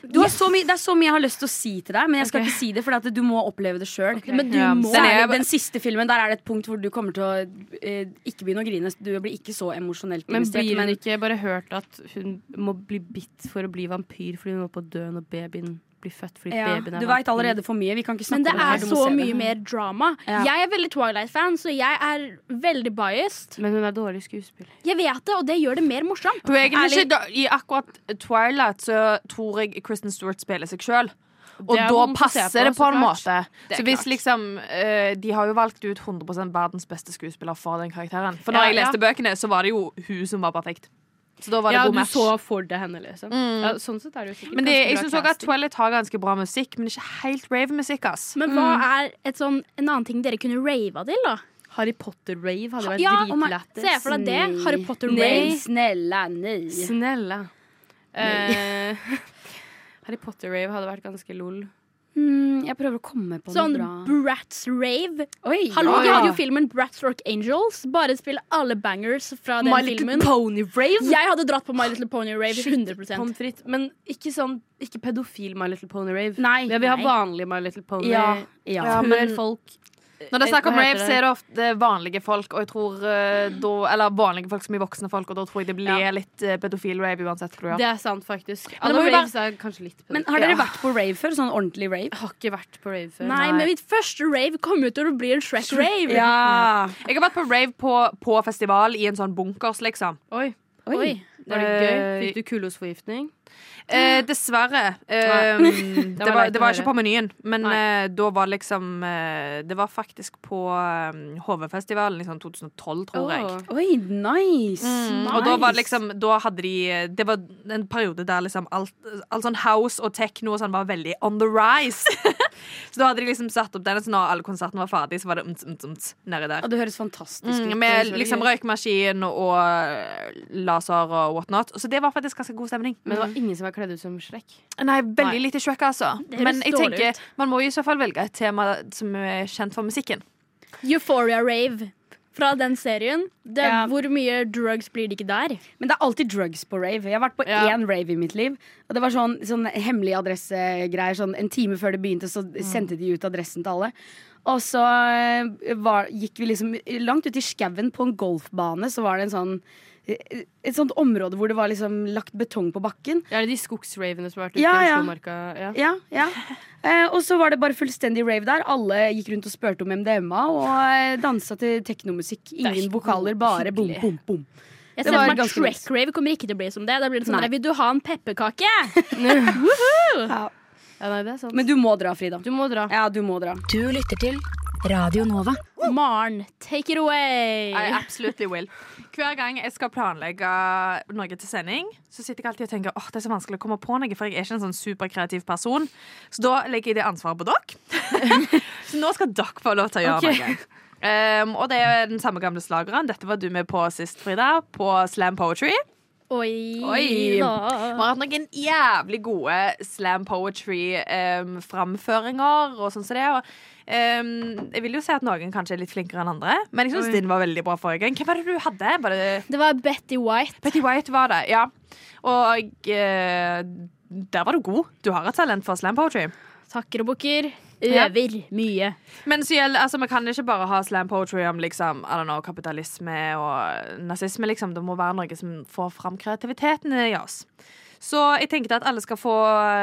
S6: Du har så mye, det er så mye jeg har lyst til å si til deg, men jeg skal
S8: Ok.
S6: ikke si det, for at du må oppleve det sjøl.
S5: Men du
S8: Ja,
S5: må
S8: Den er-
S6: Særlig den siste filmen. Der er det et punkt hvor du kommer til å eh, ikke begynne å grine. Du blir ikke så emosjonelt
S8: men
S6: investert.
S8: blir hun
S6: Men
S8: ikke bare hørt at hun må bli bitt for å bli vampyr fordi hun holdt på å dø når babyen blir født? Fordi
S6: ja,
S8: babyen er Mm.
S6: du veit allerede for mye. Vi kan ikke snakke
S5: Men det
S6: om det. her,
S5: er
S6: du må
S5: så
S6: se det.
S5: mye mer drama.
S6: Ja.
S5: Jeg er veldig Twilight-fan, så jeg er veldig biased.
S8: Men hun er dårlig skuespiller.
S5: Jeg vet det, og det gjør det mer morsomt.
S7: Egentlig ikke, da- I akkurat Twilight så tror jeg Kristen Stewart spiller seg sjøl. Og
S8: Det er
S7: da
S8: vondt å se
S7: passer
S8: på,
S7: det på
S8: så
S7: en
S8: klart.
S7: måte.
S8: Det er
S7: Så hvis
S8: klart.
S7: liksom eh, De har jo valgt ut 100 verdens beste skuespiller for den karakteren. For
S8: Ja,
S7: når jeg
S8: ja.
S7: leste bøkene, så var det jo hun som var perfekt. Så da var det
S8: Ja,
S7: god
S8: du
S7: match.
S8: så for deg henne, liksom. Ja, sånn sett er det jo sikkert
S7: Men det,
S8: ganske
S7: jeg
S8: bra
S7: syns òg at
S8: casting.
S7: Twilight har ganske bra musikk, men ikke helt rave-musikk, ass.
S5: Men
S6: Mm.
S5: hva er et sånn, en annen ting dere kunne rava til, da?
S8: Harry Potter-rave hadde vært
S5: Ja, oh my-
S8: dritlættis.
S5: Se for deg det. Harry
S6: Nei,
S5: Potter-rave.
S6: snella, nei.
S8: Snella. Eh, Harry Potter-rave hadde vært ganske lol.
S6: Mm, jeg prøver å komme på
S5: Sånn
S6: noe bra.
S5: Bratz-rave.
S6: Oi,
S5: Hallo,
S7: Ja,
S5: de
S7: ja.
S5: hadde jo filmen Bratz Rock Angels. Bare spill alle bangers fra den filmen.
S8: Pony-rave?
S5: Jeg hadde dratt på My Little Pony Rave 100
S8: Pommes frites. Men ikke sånn Ikke pedofil My Little Pony-rave.
S6: Nei,
S8: Vi har
S6: nei.
S8: vanlig My Little Pony.
S6: Ja, ja.
S7: Ja,
S8: Før
S7: men-
S8: folk
S7: Når det er snakk om
S8: Hva heter
S7: rave,
S8: det?
S7: så er det ofte vanlige folk, og jeg tror eh, da Eller vanlige folk som er voksne folk, og da tror jeg det blir
S8: Ja.
S7: litt eh, pedofil-rave uansett hva du gjør.
S8: Det er sant, faktisk.
S6: må
S8: Alle
S6: jo
S8: raves er kanskje litt
S6: Men
S8: pedofil.
S6: har dere vært på rave før? Sånn ordentlig rave?
S8: Jeg har ikke vært på rave før.
S5: Nei, men mitt første rave kom ut til å bli en Shrek-rave.
S6: Ja.
S7: Jeg har vært på rave på, på festival i en sånn bunkers, liksom.
S8: Oi.
S6: Oi.
S8: Var det gøy?
S7: Eh,
S8: Fikk du kulosforgiftning?
S7: Eh, dessverre. Eh, det,
S8: var
S7: var,
S8: leit
S7: det
S8: å
S7: var
S8: høre.
S7: ikke på menyen, men
S8: Nei.
S7: eh, da var liksom eh, Det var faktisk på eh, HV-festivalen i sånn 2012, tror jeg.
S8: Åh.
S6: Oi, nice.
S7: Mm, Og da var det liksom Da hadde de Det var en periode der liksom alt, alt sånn house og techno og sånn var veldig on the rise. så da hadde de liksom satt opp den, og så når alle konsertene var ferdig, så var det ums, ums, ums nedi der.
S6: Ja, det høres fantastisk ut.
S7: Mm,
S6: Det
S7: med
S6: høres veldig
S7: liksom
S6: gøy ut.
S7: røykmaskin og laser og whatnot. Så det var faktisk ganske god stemning.
S8: Men det var ingen som var kledd ut som Shrek.
S7: Nei, veldig lite Shrek, altså.
S5: høres
S7: Men jeg
S5: dårlig
S7: tenker
S5: ut.
S7: man må jo i så fall velge et tema som er kjent for musikken.
S5: Euphoria-rave. Fra den serien. Det,
S6: Ja.
S5: Hvor mye drugs blir det ikke der?
S6: Men det er alltid drugs på rave. Jeg har vært på
S8: Ja.
S6: én rave i mitt liv. Og det var sånn, sånn hemmelig adressegreier. Sånn en time før det begynte, så
S8: Mm.
S6: sendte de ut adressen til alle. Og så eh, var, gikk vi liksom langt ut i skauen på en golfbane, så var det en sånn et sånt område hvor det var liksom lagt betong på bakken.
S8: Er det de skogsravene som har vært ute
S6: Ja,
S8: i
S6: ja.
S8: Oslomarka? Ja.
S6: Ja, ja. Eh, og så var det bare fullstendig rave der. Alle gikk rundt og spurte om MDMA og eh, dansa til teknomusikk.
S8: Det er
S6: Ingen
S8: ikke
S6: vokaler, bare bom, bom, bom.
S5: Jeg
S6: Det
S5: ser
S6: var
S5: for meg
S6: ganske nice.
S5: Track Rave kommer ikke til å bli som det. Da blir det sånn
S6: Nei.
S5: der, Vil du ha en pepperkake?
S8: Ja, nei, det er sant.
S6: Men du må dra, Frida.
S8: Du må dra.
S6: Ja, du må dra.
S1: Du lytter til Radio Nova.
S5: Maren, take it away.
S7: I absolutely will. Hver gang jeg skal planlegge noe til sending, så sitter jeg alltid og tenker åh, det er så vanskelig å komme på noe, for jeg er ikke en sånn superkreativ person. Så da legger jeg det ansvaret på dere. så nå skal dere få lov til å gjøre
S8: Ok.
S7: noe. Um, og det er den samme gamle slageren. Dette var du med på sist, Frida, på Slam Poetry.
S5: Oi,
S7: Oi. Vi
S5: da.
S7: har hatt noen jævlig gode slam poetry-framføringer og sånn som det. Og, em, jeg vil jo si at noen kanskje er litt flinkere enn andre, men jeg syns din var veldig bra forrige gang. Hvem var det du hadde? Var det
S5: Det var Betty White.
S7: Betty White var det, ja. Og eh, der var du god. Du har et talent for slam poetry.
S5: Takker og bukker.
S7: Ja.
S5: Øver mye.
S7: Men så gjelder, altså, vi kan ikke bare ha slam poetry om liksom, I don't know, kapitalisme og nazisme. Liksom. Det må være noe som får fram kreativiteten i oss. Så jeg tenkte at alle skal få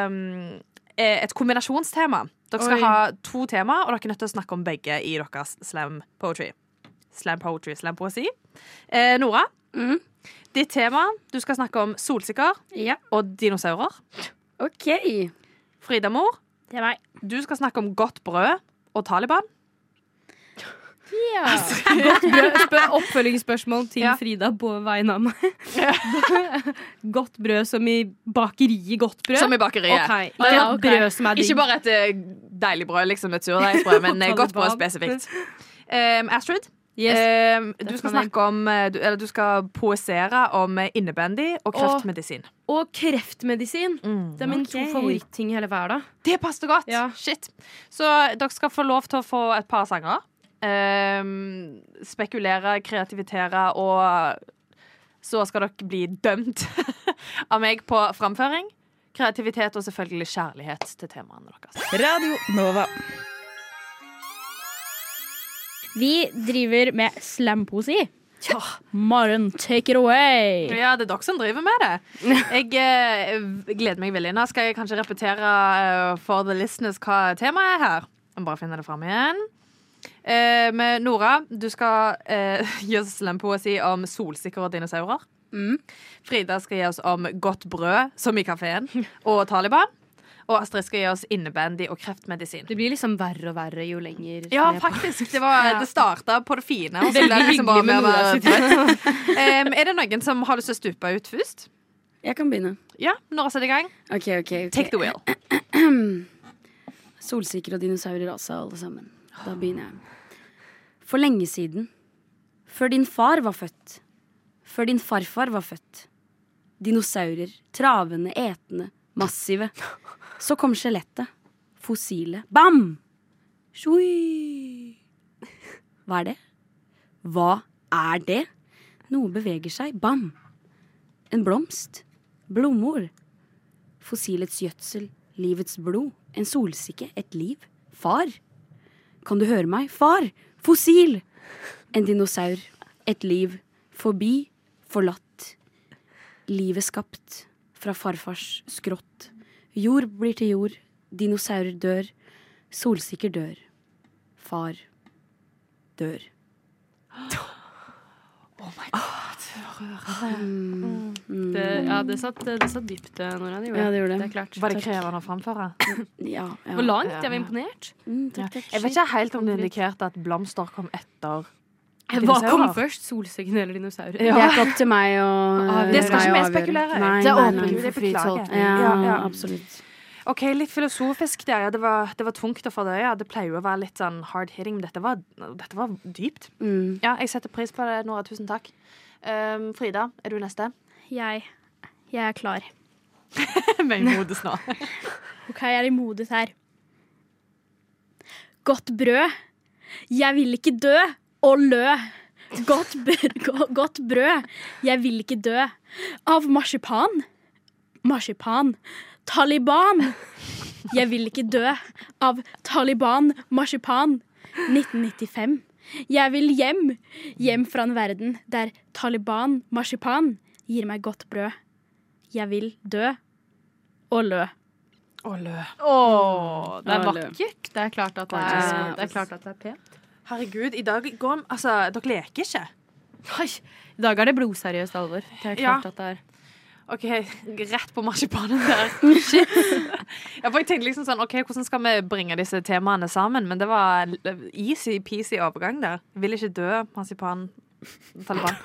S7: um, et kombinasjonstema. Dere skal
S8: Oi.
S7: ha to tema, og dere er nødt til å snakke om begge i deres slam poetry. Slam poetry, slam poesi. Eh, Nora, ditt tema Du skal snakke om solsikker
S6: Ja.
S7: og dinosaurer.
S6: OK.
S7: Frida Mor,
S5: Det er meg.
S7: du skal snakke om godt brød og Taliban.
S5: Altså,
S8: Brød, spør, oppfølgingsspørsmål til
S7: Ja.
S8: Frida på vegne av meg. godt brød som i bakeriet godt brød?
S7: Som i bakeriet.
S8: Ok,
S7: Ja,
S8: Ikke
S7: ja,
S8: et
S7: ok.
S8: brød som er digg.
S7: Ikke bare et eh, deilig brød, liksom et surdeigsbrød, men eh, godt brød
S8: Taliban.
S7: spesifikt. Um, Astrid,
S8: yes.
S7: um, du
S8: Dette
S7: skal
S8: kan jeg.
S7: snakke om eh, du, Eller du skal poesere om eh, innebandy og kreftmedisin.
S8: Og kreftmedisin.
S7: Mm,
S8: Det er mine to favoritting i hele verden.
S7: Det passet godt!
S8: Ja.
S7: Shit. Så dere skal få lov til å få et par sanger. Um, spekulere, kreativitere og så skal dere bli dømt av meg på framføring. Kreativitet og selvfølgelig kjærlighet til temaene deres.
S1: Radio Nova.
S5: Vi driver med slampoesi. Maren, take it away.
S7: Ja, det er dere som driver med det. Jeg eh, gleder meg veldig. Nå skal jeg kanskje repetere eh, for the listeners hva temaet er her. Jeg må bare finne det fram igjen. Eh, med Nora, du skal eh, gi oss slempoesi om solsikker og dinosaurer. Frida skal gi oss om godt brød, som i kafeen, og Taliban. Og Astrid skal gi oss innebandy og kreftmedisin.
S8: Det blir liksom verre og verre jo lenger.
S7: Ja,
S8: ned på-
S7: faktisk. Det, var, det starta på det fine. og så
S8: Veldig
S7: ble det liksom
S8: hyggelig
S7: bare
S8: med
S7: mer-
S8: Nora sitt
S7: Em, Er det noen som har lyst til å stupe ut først?
S6: Jeg kan begynne.
S7: Ja, Nora setter i gang.
S6: OK, OK. ok.
S7: Take the wheel.
S6: Solsikker og dinosaurer også, alle sammen. Da begynner jeg. For lenge siden. Før din far var født. Før din farfar var født. Dinosaurer. Travende, etende, massive. Så kom skjelettet. Fossilet. Bam! Sjui! Hva er det? Hva er det? Noe beveger seg. Bam! En blomst. Blomor fossilets gjødsel, livets blod, en solsikke, et liv. Far! Kan du høre meg? Far! Fossil! En dinosaur, et liv, forbi, forlatt. Livet skapt, fra farfars skrått. Jord blir til jord, dinosaurer dør, solsikker dør. Far dør.
S8: Det, ja, det satt, det satt dypt, eh, Nora. Det, gjorde
S6: Ja, det gjorde det.
S8: er klart.
S7: Var det krevende å framføre?
S6: Ja, ja.
S8: Hvor langt? Jeg
S7: Ja.
S8: var imponert.
S6: Mm, takk, takk.
S7: Jeg vet ikke helt om det indikerte at blomster kom etter
S8: Hva kom
S7: dinosaurer.
S8: først? Solsikken eller dinosaurer?
S7: Ja.
S6: Det er ikke opp til meg å
S7: Det skal
S6: meg
S7: ikke
S6: å
S7: vi
S6: avgjøre.
S7: spekulere i.
S6: Nei,
S7: Det er
S6: nei,
S7: åpen
S6: nei.
S7: Gud, jeg beklager.
S6: Ja,
S7: Ja, ja.
S6: absolutt.
S7: OK, litt filosofisk der. Ja, det var, det var tungt å fordøye. Det pleier jo å være litt sånn hard hitting, men dette var, dette var dypt.
S6: Mm.
S7: Ja, jeg setter pris på det, Nora. Tusen takk. Um, Frida, er du neste?
S5: Jeg, jeg er klar.
S7: Veimodig snart.
S5: OK, jeg er imodig her. Godt brød. Jeg vil ikke dø. Og lø. Godt, br- go- godt brød. Jeg vil ikke dø. Av marsipan. Marsipan. Taliban. Jeg vil ikke dø. Av Taliban. Marsipan. 1995. Jeg vil hjem. Hjem fra en verden der Taliban, marsipan, gir meg godt brød. Jeg vil dø. Og lø.
S7: Å, lø.
S8: Åh, det er
S6: Eller-
S8: vakkert. Det er klart at det
S6: Gorgeous,
S8: er,
S6: gorgeous.
S8: det er, klart at det er pent.
S7: Herregud, i dag går vi Altså, dere leker ikke.
S8: Oi, I dag er det blodseriøst alvor. Det er
S7: Ja.
S8: klart at det er
S7: OK, rett på marsipanen der. Shit. Ja, for jeg tenkte liksom sånn OK, hvordan skal vi bringe disse temaene sammen? Men det var l- easy-peasy overgang der. Vil ikke dø, marsipan, Taliban.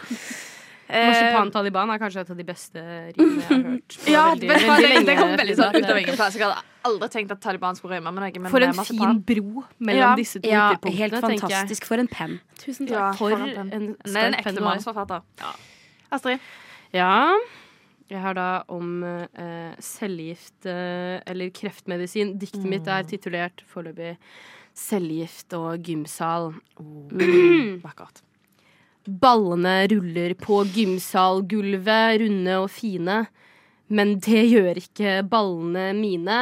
S7: Eh,
S8: Marsipan Taliban er kanskje et av de beste rimene jeg har hørt. på
S7: Ja,
S8: veldig-
S7: vet du hva, det,
S8: veldig
S7: det kom
S8: lenge
S7: veldig
S8: siden.
S7: sånn ut av ingen plass. Jeg hadde aldri tenkt at Taliban skulle rømme med noe. Men
S8: For en
S7: marsipan.
S8: fin bro mellom
S7: Ja.
S8: disse to
S6: Ja,
S8: ytterpunktene,
S6: helt
S8: tenker jeg.
S6: fantastisk for en penn.
S5: Tusen
S7: Ja,
S5: takk.
S8: For
S7: for en
S8: en,
S7: penn. Det er en
S8: sterk
S7: ekte
S8: penn du har.
S7: manusforfatter. Astrid.
S8: Ja. Jeg har da om eh, cellegift eh, eller kreftmedisin. Diktet mitt er titulert foreløpig 'Cellegift og gymsal'. Mm.
S7: Vakkert.
S8: Ballene ruller på gymsalgulvet, runde og fine. Men det gjør ikke ballene mine.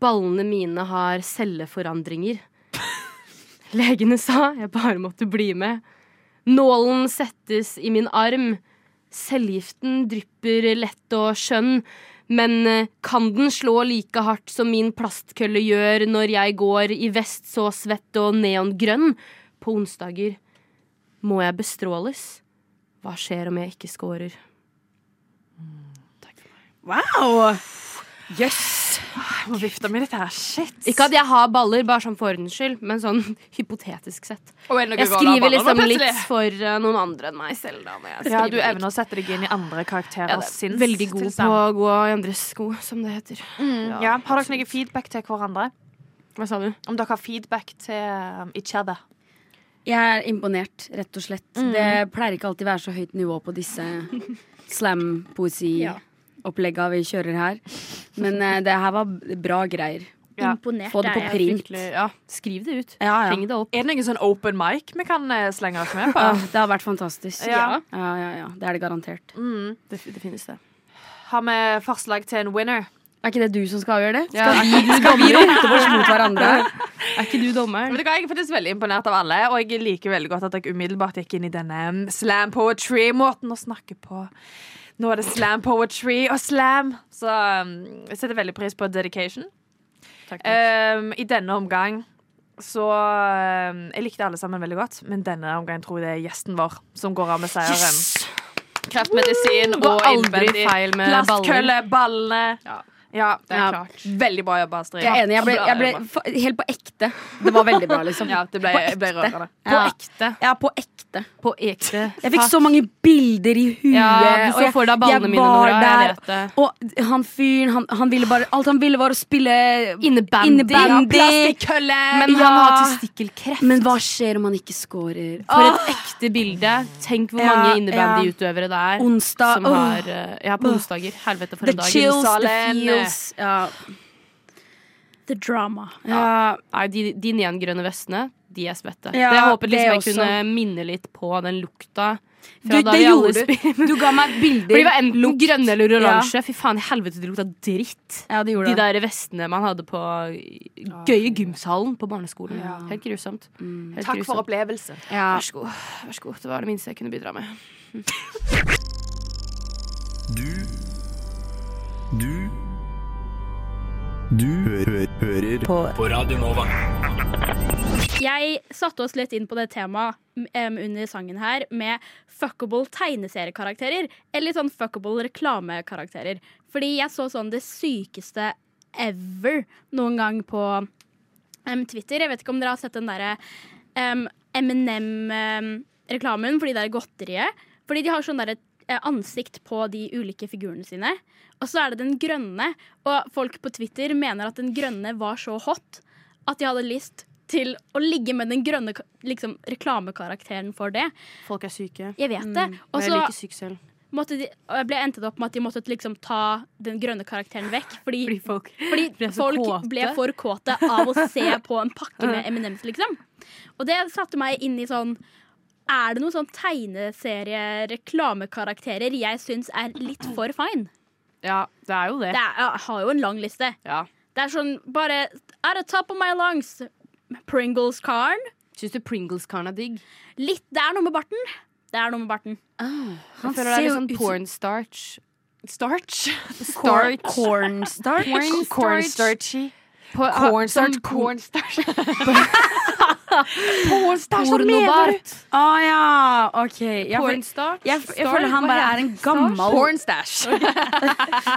S8: Ballene mine har celleforandringer. Legene sa jeg bare måtte bli med. Nålen settes i min arm. Cellegiften drypper lett og skjønn. Men eh, kan den slå like hardt som min plastkølle gjør når jeg går i vest så svett og neongrønn? På onsdager må jeg bestråles? Hva skjer om jeg ikke scorer?
S6: Wow!
S7: Ah, Jeg må vifte med dette her. Shit.
S8: Ikke at jeg har baller, bare sånn for ordens skyld, men sånn hypotetisk sett.
S7: Oi, noe
S8: Jeg
S7: går av
S8: skriver
S7: baller nå,
S8: liksom litt
S7: plutselig.
S8: for eh, noen andre enn meg selv, da. Når jeg skriver
S7: Ja, du evner å sette deg inn i andre
S8: Ja,
S7: karakterers
S8: det er
S7: sinns
S8: veldig god på
S7: tilstand.
S8: å gå i andres sko, som det heter.
S7: Mm, ja. Har dere noe feedback til hverandre?
S8: Hva sa du?
S7: Om dere har feedback til um, each other?
S6: Jeg er imponert, rett og slett. Det pleier ikke alltid være så høyt nivå på disse slam-poesiopplegga vi kjører her. Men eh, det her var bra greier.
S7: Ja.
S5: Imponert
S6: Få det på
S5: er jeg.
S6: print.
S8: Fryktelig- Ja, skriv det ut.
S6: Ja, ja.
S8: Heng det opp.
S7: Er det noen sånn open mic vi kan eh, slenge oss med på?
S6: Ah, det har vært fantastisk.
S7: Ja.
S6: ja, ja. ja. Det er det garantert.
S7: Mm.
S8: Det, det finnes det.
S7: Har vi forslag til en winner?
S6: Er ikke det du som skal avgjøre det? Skal vi, skal vi rote oss mot hverandre?
S8: Er ikke du dommeren?
S7: Vet du hva, Jeg er faktisk veldig imponert av alle, og jeg liker veldig godt at jeg umiddelbart gikk inn i denne um, slam poetry-måten å snakke på. Nå er det slam poetry og slam, så um, jeg setter veldig pris på dedication.
S8: Eh,
S7: Um, I denne omgang så um, Jeg likte alle sammen veldig godt, men denne omgang tror jeg det er gjesten vår som går av med seieren. Kreftmedisin
S8: Går
S7: og
S8: aldri
S7: innvendig
S8: feil med
S7: plastkølle, ballene. Ja. det er
S8: Ja.
S7: klart. Veldig bra jobba, Astrid.
S6: Jeg er enig. Jeg ble, jeg ble fa- helt på ekte. Det var veldig bra, liksom.
S7: ja, det ble,
S6: På
S7: jeg ble
S6: ekte.
S7: rørende.
S8: På
S6: Ja.
S8: ekte.
S6: Ja, på ekte.
S8: På ekte.
S6: Jeg fikk så mange bilder i huet.
S8: Ja,
S6: så
S8: og jeg får da
S6: jeg
S8: ballene mine,
S6: var
S8: Nora. Jeg
S6: der,
S8: vet det.
S6: Og han fyren, han, han ville bare Alt han ville, var å spille
S8: Innebandy.
S6: innebandy.
S8: Men
S6: Ja.
S8: han har testikkelkreft.
S6: Men hva skjer om han ikke scorer?
S8: For et ekte bilde. Tenk hvor mange
S6: Ja,
S8: innebandyutøvere det er.
S6: Onsdag,
S8: Som
S6: åh.
S8: har, eh, ja, på onsdager. Helvete for
S6: The
S8: en dag.
S6: chills, the
S8: eh.
S7: Salen.
S6: feels. Ja.
S5: The drama.
S6: Ja.
S8: Nei, de, de neongrønne vestene, de er svette.
S6: Ja,
S8: jeg håpet liksom jeg
S6: det også.
S8: kunne minne litt på den lukta.
S6: Du,
S8: Fra da
S6: det
S8: vi alle
S6: gjorde
S8: spil-
S6: du. Du ga meg
S8: For de
S6: bilder.
S8: var enten grønne eller oransje. Fy faen i helvete, det lukta dritt.
S6: Ja, det
S8: De
S6: gjorde det.
S8: der vestene man hadde på gøye gymsalen på barneskolen. Helt grusomt.
S6: Mm.
S8: Helt
S7: Takk for
S8: grusomt.
S7: opplevelsen.
S6: Ja.
S8: Vær så god. Vær så god. Det var det minste jeg kunne bidra med.
S9: Du Du Du hø hø hører på.
S5: Jeg satte oss litt inn på det temaet em, under sangen her med fuckable tegneseriekarakterer. Eller sånn fuckable reklamekarakterer. Fordi jeg så sånn det sykeste ever noen gang på em, Twitter. Jeg vet ikke om dere har sett den derre Eminem-reklamen for de der godteriet. Fordi de har sånn derre eh, ansikt på de ulike figurene sine. Og så er det den grønne. Og folk på Twitter mener at den grønne var så hot at de hadde lyst til å ligge med den grønne ka- liksom, reklamekarakteren for det.
S8: Folk er syke.
S5: Jeg vet det. Og
S8: Mm, Og
S5: så
S8: jeg er like syk selv.
S5: måtte de, og jeg ble endte det opp med at de måtte liksom ta den grønne karakteren vekk. Fordi,
S8: Fordi folk
S5: fordi
S8: ble så
S5: folk
S8: kåte.
S5: ble for kåte av å se på en pakke med Eminems, liksom. Og det satte meg inn i sånn Er det noen sånn tegneserie-reklamekarakterer jeg syns er litt for fine?
S8: Ja, det er jo det.
S5: Det er, jeg har jo en lang liste.
S8: Ja.
S5: Det er sånn bare At the top of my lungs. Pringles-karen.
S8: Syns du Pringles-karen er digg?
S5: Litt, Det er noe med barten. Det er noe med barten.
S8: Jeg
S6: Han
S8: føler det er
S6: ser
S8: litt
S6: jo
S8: sånn
S6: ut som-
S8: pornstarch.
S7: Starch.
S6: Cor- Cornstarch.
S8: Cornstarch.
S7: Cornstarchy.
S8: På- ah,
S7: Cornstarch.
S8: som-
S7: Cornstarch.
S4: Pornobart.
S6: Å ja, OK. Ja, for, jeg,
S8: Pornstart.
S6: jeg, føler han bare er en gammel
S4: Pornstash.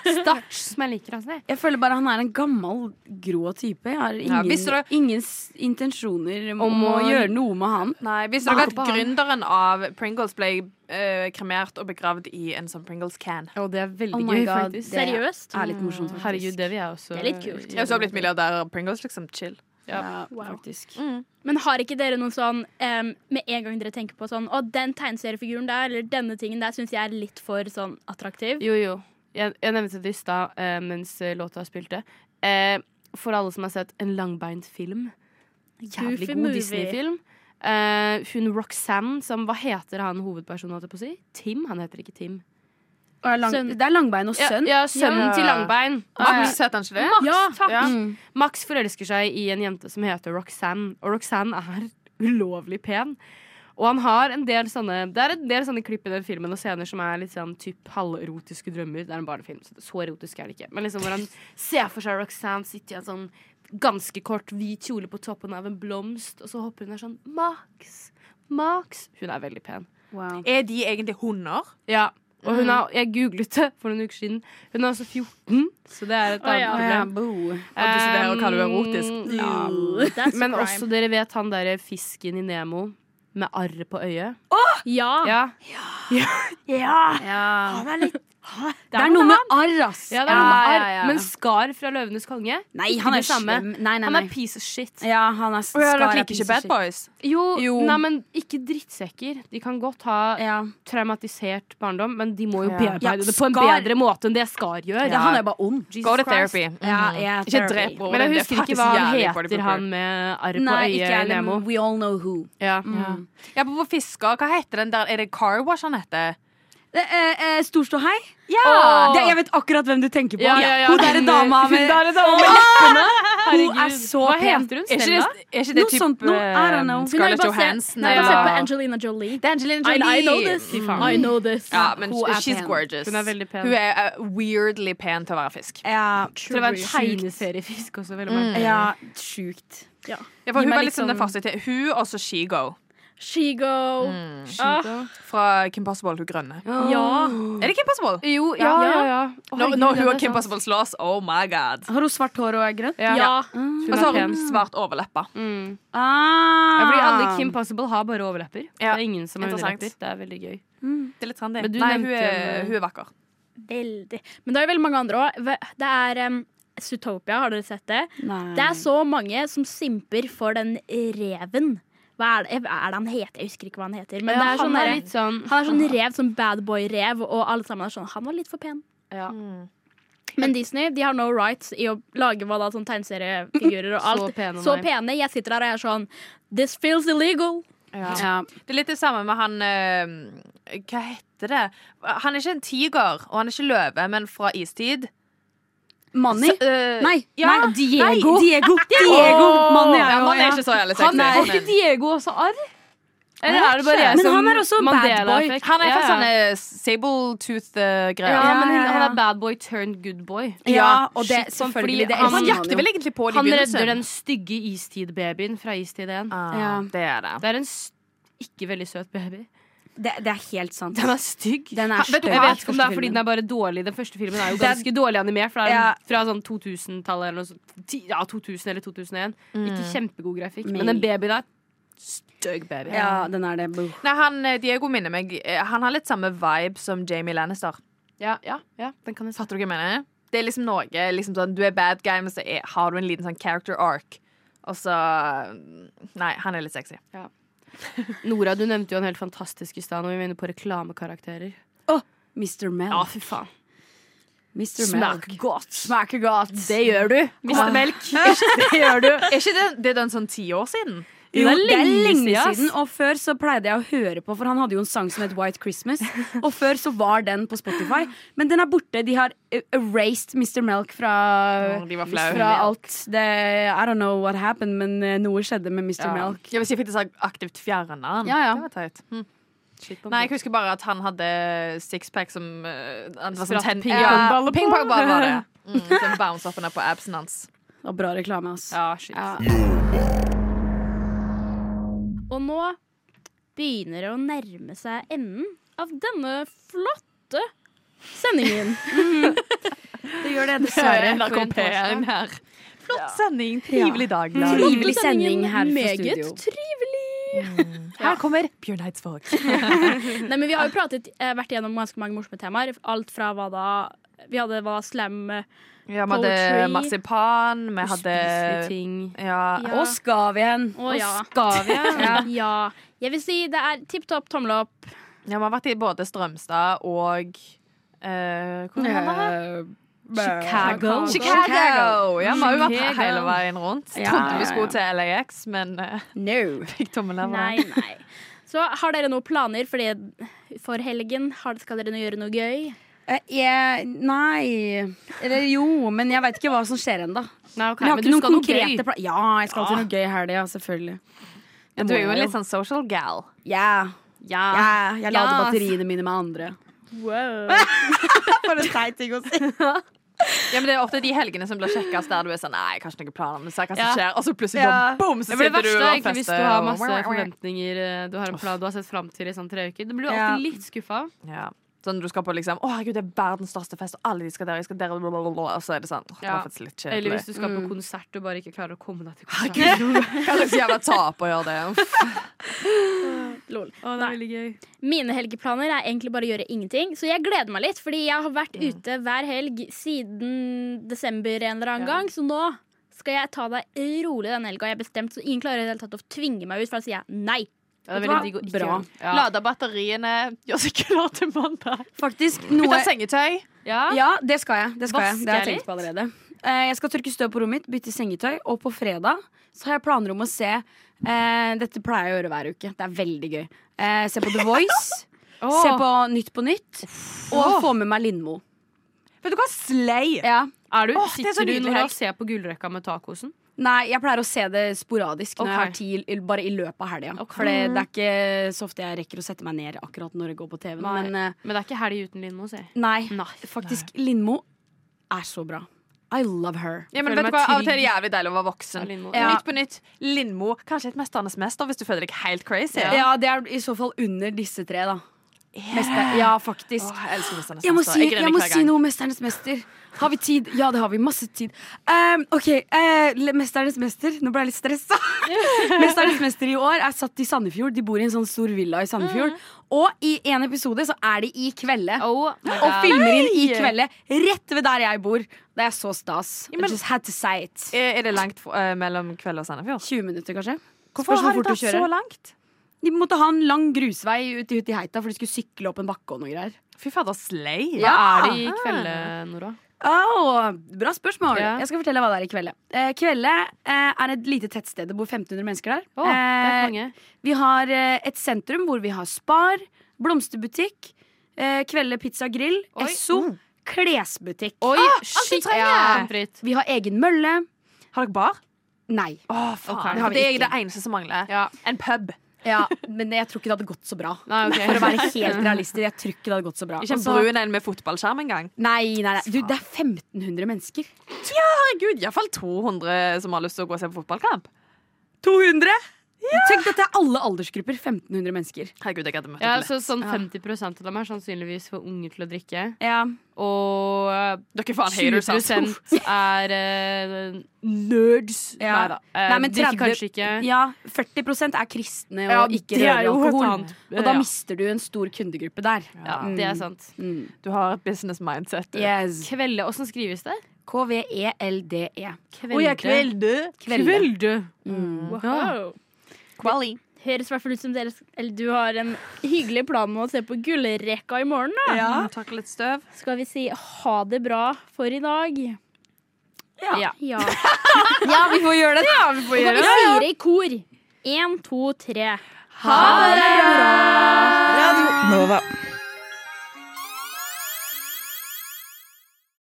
S4: Starch, som jeg liker. Altså.
S6: Jeg føler bare han er en gammel, grå type. Jeg har
S7: Ja,
S6: ingen,
S7: visste du-
S6: ingen s- intensjoner om,
S8: Om
S6: å
S8: å-
S6: gjøre noe med han.
S7: Nei, Visste dere at gründeren av Pringles ble eh, kremert og begravd i en sånn Pringles can?
S8: Å, det er veldig
S6: Oh my
S8: gøy,
S6: God,
S8: faktisk.
S6: det-
S5: Seriøst?
S6: Er litt morsomt, faktisk.
S8: Herregud, det vil jeg også.
S5: Det er litt kult.
S7: Jeg har også blitt milliardær av Pringles. liksom, chill.
S6: Ja,
S5: Wow.
S6: faktisk.
S5: Men har ikke dere noen sånn em, Med en gang dere tenker på sånn Å, den tegneseriefiguren der, eller denne tingen der, syns jeg er litt for sånn attraktiv.
S8: Jo, jo. Jeg, jeg nevnte det i stad eh, mens eh, låta spilte. Eh, for alle som har sett en langbeint film. Jævlig
S5: Goofy
S8: god
S5: movie.
S8: Disney-film. Eh, hun Roxanne, som hva heter han hovedpersonen, holdt jeg på å si? Tim? Han heter ikke Tim.
S6: Og er lang,
S5: Sønn.
S6: det er langbein og
S8: Ja,
S6: sønn.
S8: ja sønnen
S7: Ja.
S8: til Langbein.
S7: Max heter han ikke det?
S8: Ah, Ja, takk.
S7: Ja.
S6: Mm.
S8: Max forelsker seg i en jente som heter Roxanne, og Roxanne er ulovlig pen. Og han har en del sånne Det er en del sånne klipp i den filmen og scener som er litt sånn typ halverotiske drømmer. Det er en barnefilm, så, så erotisk er det ikke. Men liksom hvor han ser for seg Roxanne sitte i en sånn ganske kort hvit kjole på toppen av en blomst, og så hopper hun der sånn Max! Max! Hun er veldig pen.
S6: Wow.
S7: Er de egentlig hunder?
S8: Ja. Og hun har, jeg googlet det for noen uker siden. Hun er altså 14, så det er et
S5: Å,
S8: annet
S5: ja.
S6: Å ja,
S8: problem.
S6: bo.
S7: At du sitter her og kaller det erotisk.
S8: Um,
S5: That's
S8: Men
S5: a crime.
S8: også dere vet han derre fisken i Nemo med arret på øyet.
S5: ja.
S8: Ja.
S6: Ja.
S8: Det
S6: Det er noe med arr, ass.
S8: ja, det er noe med
S7: Ja,
S8: arr.
S7: ja, ja, ja.
S8: Men Skar fra 'Løvenes konge'
S6: Nei,
S8: Ikke
S6: han
S8: det
S6: er
S8: samme.
S6: slem. Nei, nei,
S8: Han
S6: nei.
S8: er piece of shit.
S6: Ja, han er
S7: Skar
S6: skar er
S7: liker ikke
S6: piece of
S7: Bad
S6: shit.
S7: Boys.
S8: Jo,
S6: Jo.
S8: Nei, men ikke drittsekker. De kan godt ha
S6: Ja.
S8: traumatisert barndom, men de må jo
S7: Ja.
S8: bearbeide
S6: Ja,
S8: det på en
S6: Skar-
S8: bedre måte enn det Skar gjør.
S6: ja, han er bare ond.
S8: Jesus
S7: Go to
S8: Christ.
S7: therapy.
S6: Ja, ja,
S8: Mm.
S7: Ikke
S6: therapy.
S7: drep
S8: Men
S7: broren.
S8: jeg
S7: Det er
S8: husker ikke
S7: faktisk
S8: hva han
S7: jævlig body
S8: heter,
S7: proper.
S8: han med arr på
S6: Nei, ikke
S8: øyet i
S6: jeg.
S8: Nemo.
S6: men We all know who.
S8: Ja.
S7: Ja. Ja, på fisker, hva heter den der? Er det Car Wash han heter?
S6: Eh, eh, Storståhei.
S7: Ja!
S6: Det, jeg vet akkurat hvem du tenker på.
S8: Ja, ja, ja.
S6: Hun derre dama
S8: Hun
S6: med
S8: derre dama med
S6: Hun er
S8: Herregud.
S6: så
S8: Hva
S6: pen.
S8: heter hun?
S7: er
S8: Stella?
S7: ikke det, er ikke det
S6: Noe
S7: typ,
S6: sånt noe, I don't know.
S7: eh,
S5: Hun er
S7: Scarlett
S5: basert,
S7: Johansson?
S5: nei, basert
S7: eller-
S5: på Angelina Jolie.
S7: Det er Angelina
S5: I,
S7: Jolie.
S5: I know this.
S8: Fy faen.
S5: I know this.
S7: Ja, men
S6: Hun er
S7: she's
S6: pen.
S7: gorgeous.
S8: Hun er veldig pen.
S7: Hun er eh, weirdly pen til å være fisk.
S6: Ja,
S8: Til å være en tegneseriefisk også, veldig merkelig.
S6: ja sjukt.
S7: Ja,
S8: Gi
S7: for hun
S8: meg
S7: var
S8: litt
S7: litt sånn den
S8: sånn-
S7: første til Hun og så Shego
S5: Shego.
S7: Mm.
S8: Ah.
S7: fra Kim Possible, hun grønne.
S5: Ja.
S7: Er det Kim Possible?
S8: Jo, ja, ja, ja. Å,
S7: Når,
S8: herregud,
S7: når hun
S8: ja,
S7: og
S8: det er sånn-
S7: Kim
S8: sant.
S7: Possible slåss, oh my god.
S6: Har hun svart hår og er grønn?
S8: Ja.
S5: ja.
S7: Og
S8: Hun
S7: så
S8: er
S7: har hun
S8: pen.
S7: svart overleppe.
S8: Mm.
S6: Ah.
S8: Ja, fordi alle Kim Possible har bare overlepper.
S7: Ja.
S8: Det er ingen som har underlepper.
S7: Interessant.
S8: Det er veldig gøy.
S7: Det er litt trendy.
S8: Men du
S7: Nei, hun
S8: nevnte
S7: er,
S8: en-
S7: hun er vakker.
S5: Veldig. Men det er jo veldig mange andre òg. Det er um, Zootopia, har dere sett det?
S6: Nei.
S5: Det er så mange som simper for den reven. Hva er det, hva er det han heter? Jeg husker ikke hva han heter. Men det er
S8: han
S5: sånn
S8: er
S5: derre-
S8: litt sånn
S5: han er sånn rev, sånn bad boy-rev, og alle sammen er sånn Han var litt for pen.
S8: ja.
S5: Men Disney de har no rights i å lage hva da, sånn tegneseriefigurer og alt.
S8: Så pene,
S5: så
S8: nei.
S5: pene. Jeg sitter der og jeg er sånn This feels illegal.
S6: ja.
S7: Det er litt det samme med han eh, Hva heter det? Han er ikke en tiger, og han er ikke løve, men fra istid.
S6: Manny?
S7: Så, eh,
S6: Nei.
S7: ja.
S6: nei. Diego. Diego.
S7: Åh!
S6: Manny er
S7: Ja,
S6: jo
S7: Manny er
S6: ja.
S7: ikke så jævlig sexy.
S8: Han er
S7: men-
S8: ikke Diego også arr? Eller er det bare jeg
S6: Men
S8: som
S6: han er også en bad boy.
S8: effekt?
S7: Han er
S8: Ja,
S7: fra
S8: ja.
S7: sånne sable-tooth-greier.
S8: ja, men
S6: Ja, ja,
S8: han
S6: ja.
S8: er bad boy turned good boy.
S6: ja, og det
S8: Shit,
S6: selvfølgelig.
S8: sånn, fordi
S6: Det elsker
S8: han-
S7: Han
S6: man
S7: jakter
S6: jo.
S7: vel egentlig på det i
S8: Han
S7: begynnelsen.
S8: redder den stygge istid-babyen fra Istid 1.
S7: Ah,
S6: Ja.
S7: Det er det.
S8: Det er en s- ikke veldig søt baby.
S6: Det, det er helt sant.
S8: Den er stygg.
S6: Den er
S8: Ha- vet du,
S6: stygg.
S8: jeg vet ikke om det
S6: Første
S8: er fordi den er bare dårlig. Den første filmen er jo ganske dårlig animert, for det er
S6: Ja.
S8: fra sånn 2000-tallet eller noe sånt. Ti- Ja, 2000 eller 2001. Ikke kjempegod grafikk, men
S6: Mm. Nei.
S8: den babyen er stygg baby.
S6: Ja, den er det. Buh.
S7: Nei, han, eh, Diego minner meg eh, Han har litt samme vibe som Jamie Lannister.
S8: Ja, ja, ja, den kan jeg si.
S7: Fatter du hva jeg mener? Det er liksom noe liksom sånn, Du er bad guy, men så er, har du en liten sånn character arc. Og så eh, Nei, han er litt sexy.
S8: Nora, du nevnte jo en helt fantastisk i stad når vi var inne på reklamekarakterer.
S6: Mr. Mel.
S8: Ja, fy faen.
S6: Mr. Mel.
S8: Smaker godt.
S6: Smaker godt.
S8: Det gjør du. Mr. Melk. Det gjør du.
S7: Er ikke det, det er den sånn ti år siden?
S6: Jo, det er lenge,
S8: ass.
S6: siden. Og før så pleide jeg å høre på, for han hadde jo en sang som het White Christmas. Og før så var den på Spotify, men den er borte. De har eh, erased Mr. Milk fra,
S7: Åh, de var flau.
S6: fra alt. Det, I don't know what happened, men eh, noe skjedde med Mr.
S7: Ja.
S6: Milk.
S7: Jeg vil si jeg fikk det sagt aktivt fjerna.
S6: Ja, ja.
S7: Det var teit. Hm.
S8: Shit på
S7: Nei, jeg husker bare at han hadde sixpack som eh, han var
S8: Spratt
S7: sånn ten-
S8: pingpongballer
S7: Ja, pingpongball var det. Mm, som bounce opp og ned på absen hans.
S6: Det var bra reklame, ass.
S8: Ja, shit.
S6: Ja.
S5: Og nå begynner det å nærme seg enden av denne flotte sendingen.
S6: Det gjør det,
S7: Dessverre.
S6: dessverre. for en torsdag.
S7: her. Flott sending. Trivelig dag. Lara.
S6: Trivelig sending
S5: Sendingen
S6: her fra
S5: meget
S6: studio.
S5: trivelig.
S7: Her kommer Bjørn Eidsvåg.
S5: Nei, men vi har jo pratet, eh, vært igjennom ganske mange morsomme temaer. Alt fra hva da Vi hadde hva slam eh,
S7: Ja, vi hadde
S5: Poetry.
S7: marsipan, vi hadde
S8: Spiselige ting.
S7: ja,
S5: Ja.
S6: Og skal vi hen?
S5: Å ja.
S8: Skal vi?
S5: ja. Jeg vil si det er tipp topp, tommel opp.
S7: Ja, vi har vært i både Strømstad og eh, Hvor var det her?
S8: Chicago.
S7: Chicago! Ja, vi har jo vært
S8: Chicago.
S7: hele veien rundt.
S6: Ja,
S7: Trodde
S6: ja,
S7: vi
S6: ja.
S7: skulle til LAX, men eh,
S6: No.
S7: fikk tommelen av.
S5: Nei, nei. Så har dere noen planer for, det, for helgen? Har, skal dere nå gjøre noe gøy?
S6: Eh, jeg, nei Eller jo, men jeg veit ikke hva som skjer ennå.
S8: Nei, ok,
S6: Men jeg har ikke
S8: men du
S6: noen
S8: skal noe
S6: konkrete
S8: gøy.
S6: planer. Ja, jeg skal til noe gøy i helga, ja, selvfølgelig.
S7: Ja,
S6: Det
S7: du
S6: må
S7: er jo
S6: jeg
S7: en litt sånn social gal.
S6: Ja.
S8: sånn-
S7: Ja.
S6: ja. Jeg lader
S7: Ja,
S6: batteriene mine med andre. For en teit ting å si.
S7: Ja, men Det er ofte de helgene som blir kjekkest, der du er sånn Nei, kanskje noen planer, men se hva som
S8: Ja.
S7: skjer. Og så plutselig
S6: Ja.
S7: bare boom, så
S8: Det blir det
S7: sitter du
S8: verste
S7: og
S8: egentlig, hvis
S7: fester.
S8: du har
S7: og-
S8: masse forventninger eh, du har en plan du har sett fram til i sånn tre uker. Det blir du
S6: Ja.
S8: alltid litt skuffa.
S7: Ja. Sånn du skal på liksom Å, herregud, det er verdens største fest, og alle de skal der, jeg skal der, blablabla, og så er det sånn. Åh, det
S8: Ja.
S7: var faktisk litt
S8: Eller
S7: kjedelig.
S8: hvis du skal
S6: Mm.
S8: på konsert og bare ikke klarer å komme deg til konsert.
S7: Ah, Herregud, hva slags jævla tap å gjøre det? Uff.
S5: Lol.
S8: Å, det er veldig gøy.
S5: Mine helgeplaner er egentlig bare å gjøre ingenting. Så jeg gleder meg litt, fordi jeg har vært ute hver helg siden desember en eller annen
S7: Ja.
S5: gang. Så nå skal jeg ta det rolig denne helga. Jeg har bestemt, så ingen klarer i det hele tatt å tvinge meg ut, for da sier jeg nei.
S6: Vet
S7: Ja, det er
S6: du hva?
S7: veldig digg å ikke
S6: Bra.
S7: gjøre det. Lade batteriene, gjør seg klar til mandag.
S6: Faktisk
S7: Bytte
S6: noe
S7: sengetøy.
S8: Ja.
S6: Ja, det skal jeg. Det, skal jeg. det har
S8: Vasker
S6: jeg
S8: jeg
S6: tenkt på allerede. Eh, Jeg skal tørke støv på rommet mitt, bytte sengetøy, og på fredag så har jeg planer om å se eh, Dette pleier jeg å gjøre hver uke. Det er veldig gøy. Eh, se på The Voice. Se på Nytt på nytt. Og få med meg Lindmo.
S7: Vet du hva? Slay!
S6: Ja.
S8: Er du,
S7: Åh, det er så
S8: sitter du
S7: nydelig
S8: når
S7: helg.
S8: og ser på gullrekka med tacosen?
S6: Nei, jeg pleier å se det sporadisk når jeg
S8: Ok.
S6: har tid, i- bare i løpet av helga.
S8: Ok.
S6: For det, det er ikke så ofte jeg rekker å sette meg ned akkurat når det går på TV.
S8: Nei.
S6: Men eh,
S8: Men det er ikke helg uten Lindmo, si.
S6: nei,
S8: Nei.
S6: faktisk, Lindmo er så bra. I love her.
S7: Ja, men
S8: Føler
S7: vet
S8: meg
S7: du hva?
S8: trygg.
S7: Av og til er det jævlig deilig å være
S8: Ja,
S7: voksen.
S8: Lindmo.
S6: Ja.
S7: Nytt på nytt. Lindmo. Kanskje et Mesternes mester, hvis du føler deg helt crazy.
S6: Ja. det er i så fall under disse tre, da. Meste. Ja, faktisk.
S7: Åh, jeg elsker Mesternes
S6: Jeg må
S7: mester.
S6: si, jeg må
S7: hver
S6: si
S7: gang.
S6: noe om Mesternes mester. Har vi tid? Ja, det har vi. Masse tid. Ehm, OK. eh, Le- Mesternes mester. Nå ble jeg litt stressa. Mesternes mester i år er satt i Sandefjord. De bor i en sånn stor villa i
S7: Mm.
S6: Sandefjord. Og i en episode så er de i Kvelde.
S8: Oh
S6: og filmer inn i Kvelde rett ved der jeg bor. Det er så stas. I just had to say it.
S7: Er er det langt eh, mellom kveld og Sandefjord?
S6: 20 minutter, kanskje.
S7: Hvorfor
S6: Spørs hvor
S7: har de
S6: fort du
S7: dratt så
S6: kjører.
S7: langt?
S6: De måtte ha en lang grusvei ut, i- ut i heita, for de skulle sykle opp en bakke og noe greier.
S7: Fy fader,
S8: Hva
S7: slay!
S6: Ja.
S8: er det i kvelde, Nora?
S6: Åh, bra spørsmål.
S8: Ja.
S6: Jeg skal fortelle hva det er i Kvelde. Eh, Kvelde eh, er et lite tettsted. Det bor 1500 mennesker der.
S8: Å, det er
S6: Eh,
S8: mange.
S6: vi har eh, et sentrum hvor vi har Spar, blomsterbutikk, eh, Kvelde pizza og grill,
S8: Oi.
S6: Esso, klesbutikk. Ah,
S8: Oi,
S7: du
S8: shit!
S7: trenger!
S8: Ja, Britt.
S6: Vi har egen mølle.
S7: Har dere bar?
S6: Nei.
S7: Å, faen.
S8: Ok.
S7: Det,
S6: Det har vi
S7: er det eneste som mangler.
S8: Ja.
S7: En pub.
S6: Ja, men jeg tror ikke det hadde gått så bra.
S8: Nei, ok.
S6: For å være helt realistisk. Jeg tror ikke det hadde gått så bra.
S7: Ikke en
S6: Altså-
S7: brun en med fotballskjerm engang.
S6: Nei, nei, nei. Du, det er 1500 mennesker.
S7: Herregud, iallfall 200 som har lyst til å gå og se på fotballkamp.
S6: 200? Tenk dette er alle aldersgrupper. 1500 mennesker.
S7: Herregud, jeg hadde møtt
S8: Ja,
S7: opp
S8: så
S7: lett.
S8: sånn
S6: Ja.
S8: 50 av dem er sannsynligvis for unge til å drikke.
S6: Ja.
S8: Og eh,
S7: Dere er faen haters, altså.
S8: 20 er eh, nerds.
S6: Ja.
S8: Neida. Eh,
S6: Nei, men
S8: drikker
S6: 30
S8: kanskje ikke.
S6: Ja, 40 er kristne og
S8: Ja,
S6: ikke
S8: det er
S6: rører
S8: jo et
S6: alkohol.
S8: annet, eh,
S6: Og da
S8: ja.
S6: mister du en stor kundegruppe der.
S8: Ja, det er sant.
S6: Mm.
S7: Du har et business mindset. du.
S6: Yes. E
S8: Kvelde, åssen skrives det?
S6: KVELDE.
S8: Kvelde.
S6: Kvelde.
S5: Wow.
S7: Quali.
S5: Høres i hvert fall ut som dere Eller du har en hyggelig plan med å se på gullrekka i morgen, da.
S7: Ja. Takle litt støv.
S5: Skal vi si ha det bra for i dag?
S6: Ja.
S5: ja.
S6: Ja, vi får gjøre det. Ja, vi får
S5: Så kan vi si det i kor. Én, to, tre.
S1: Radio Nova.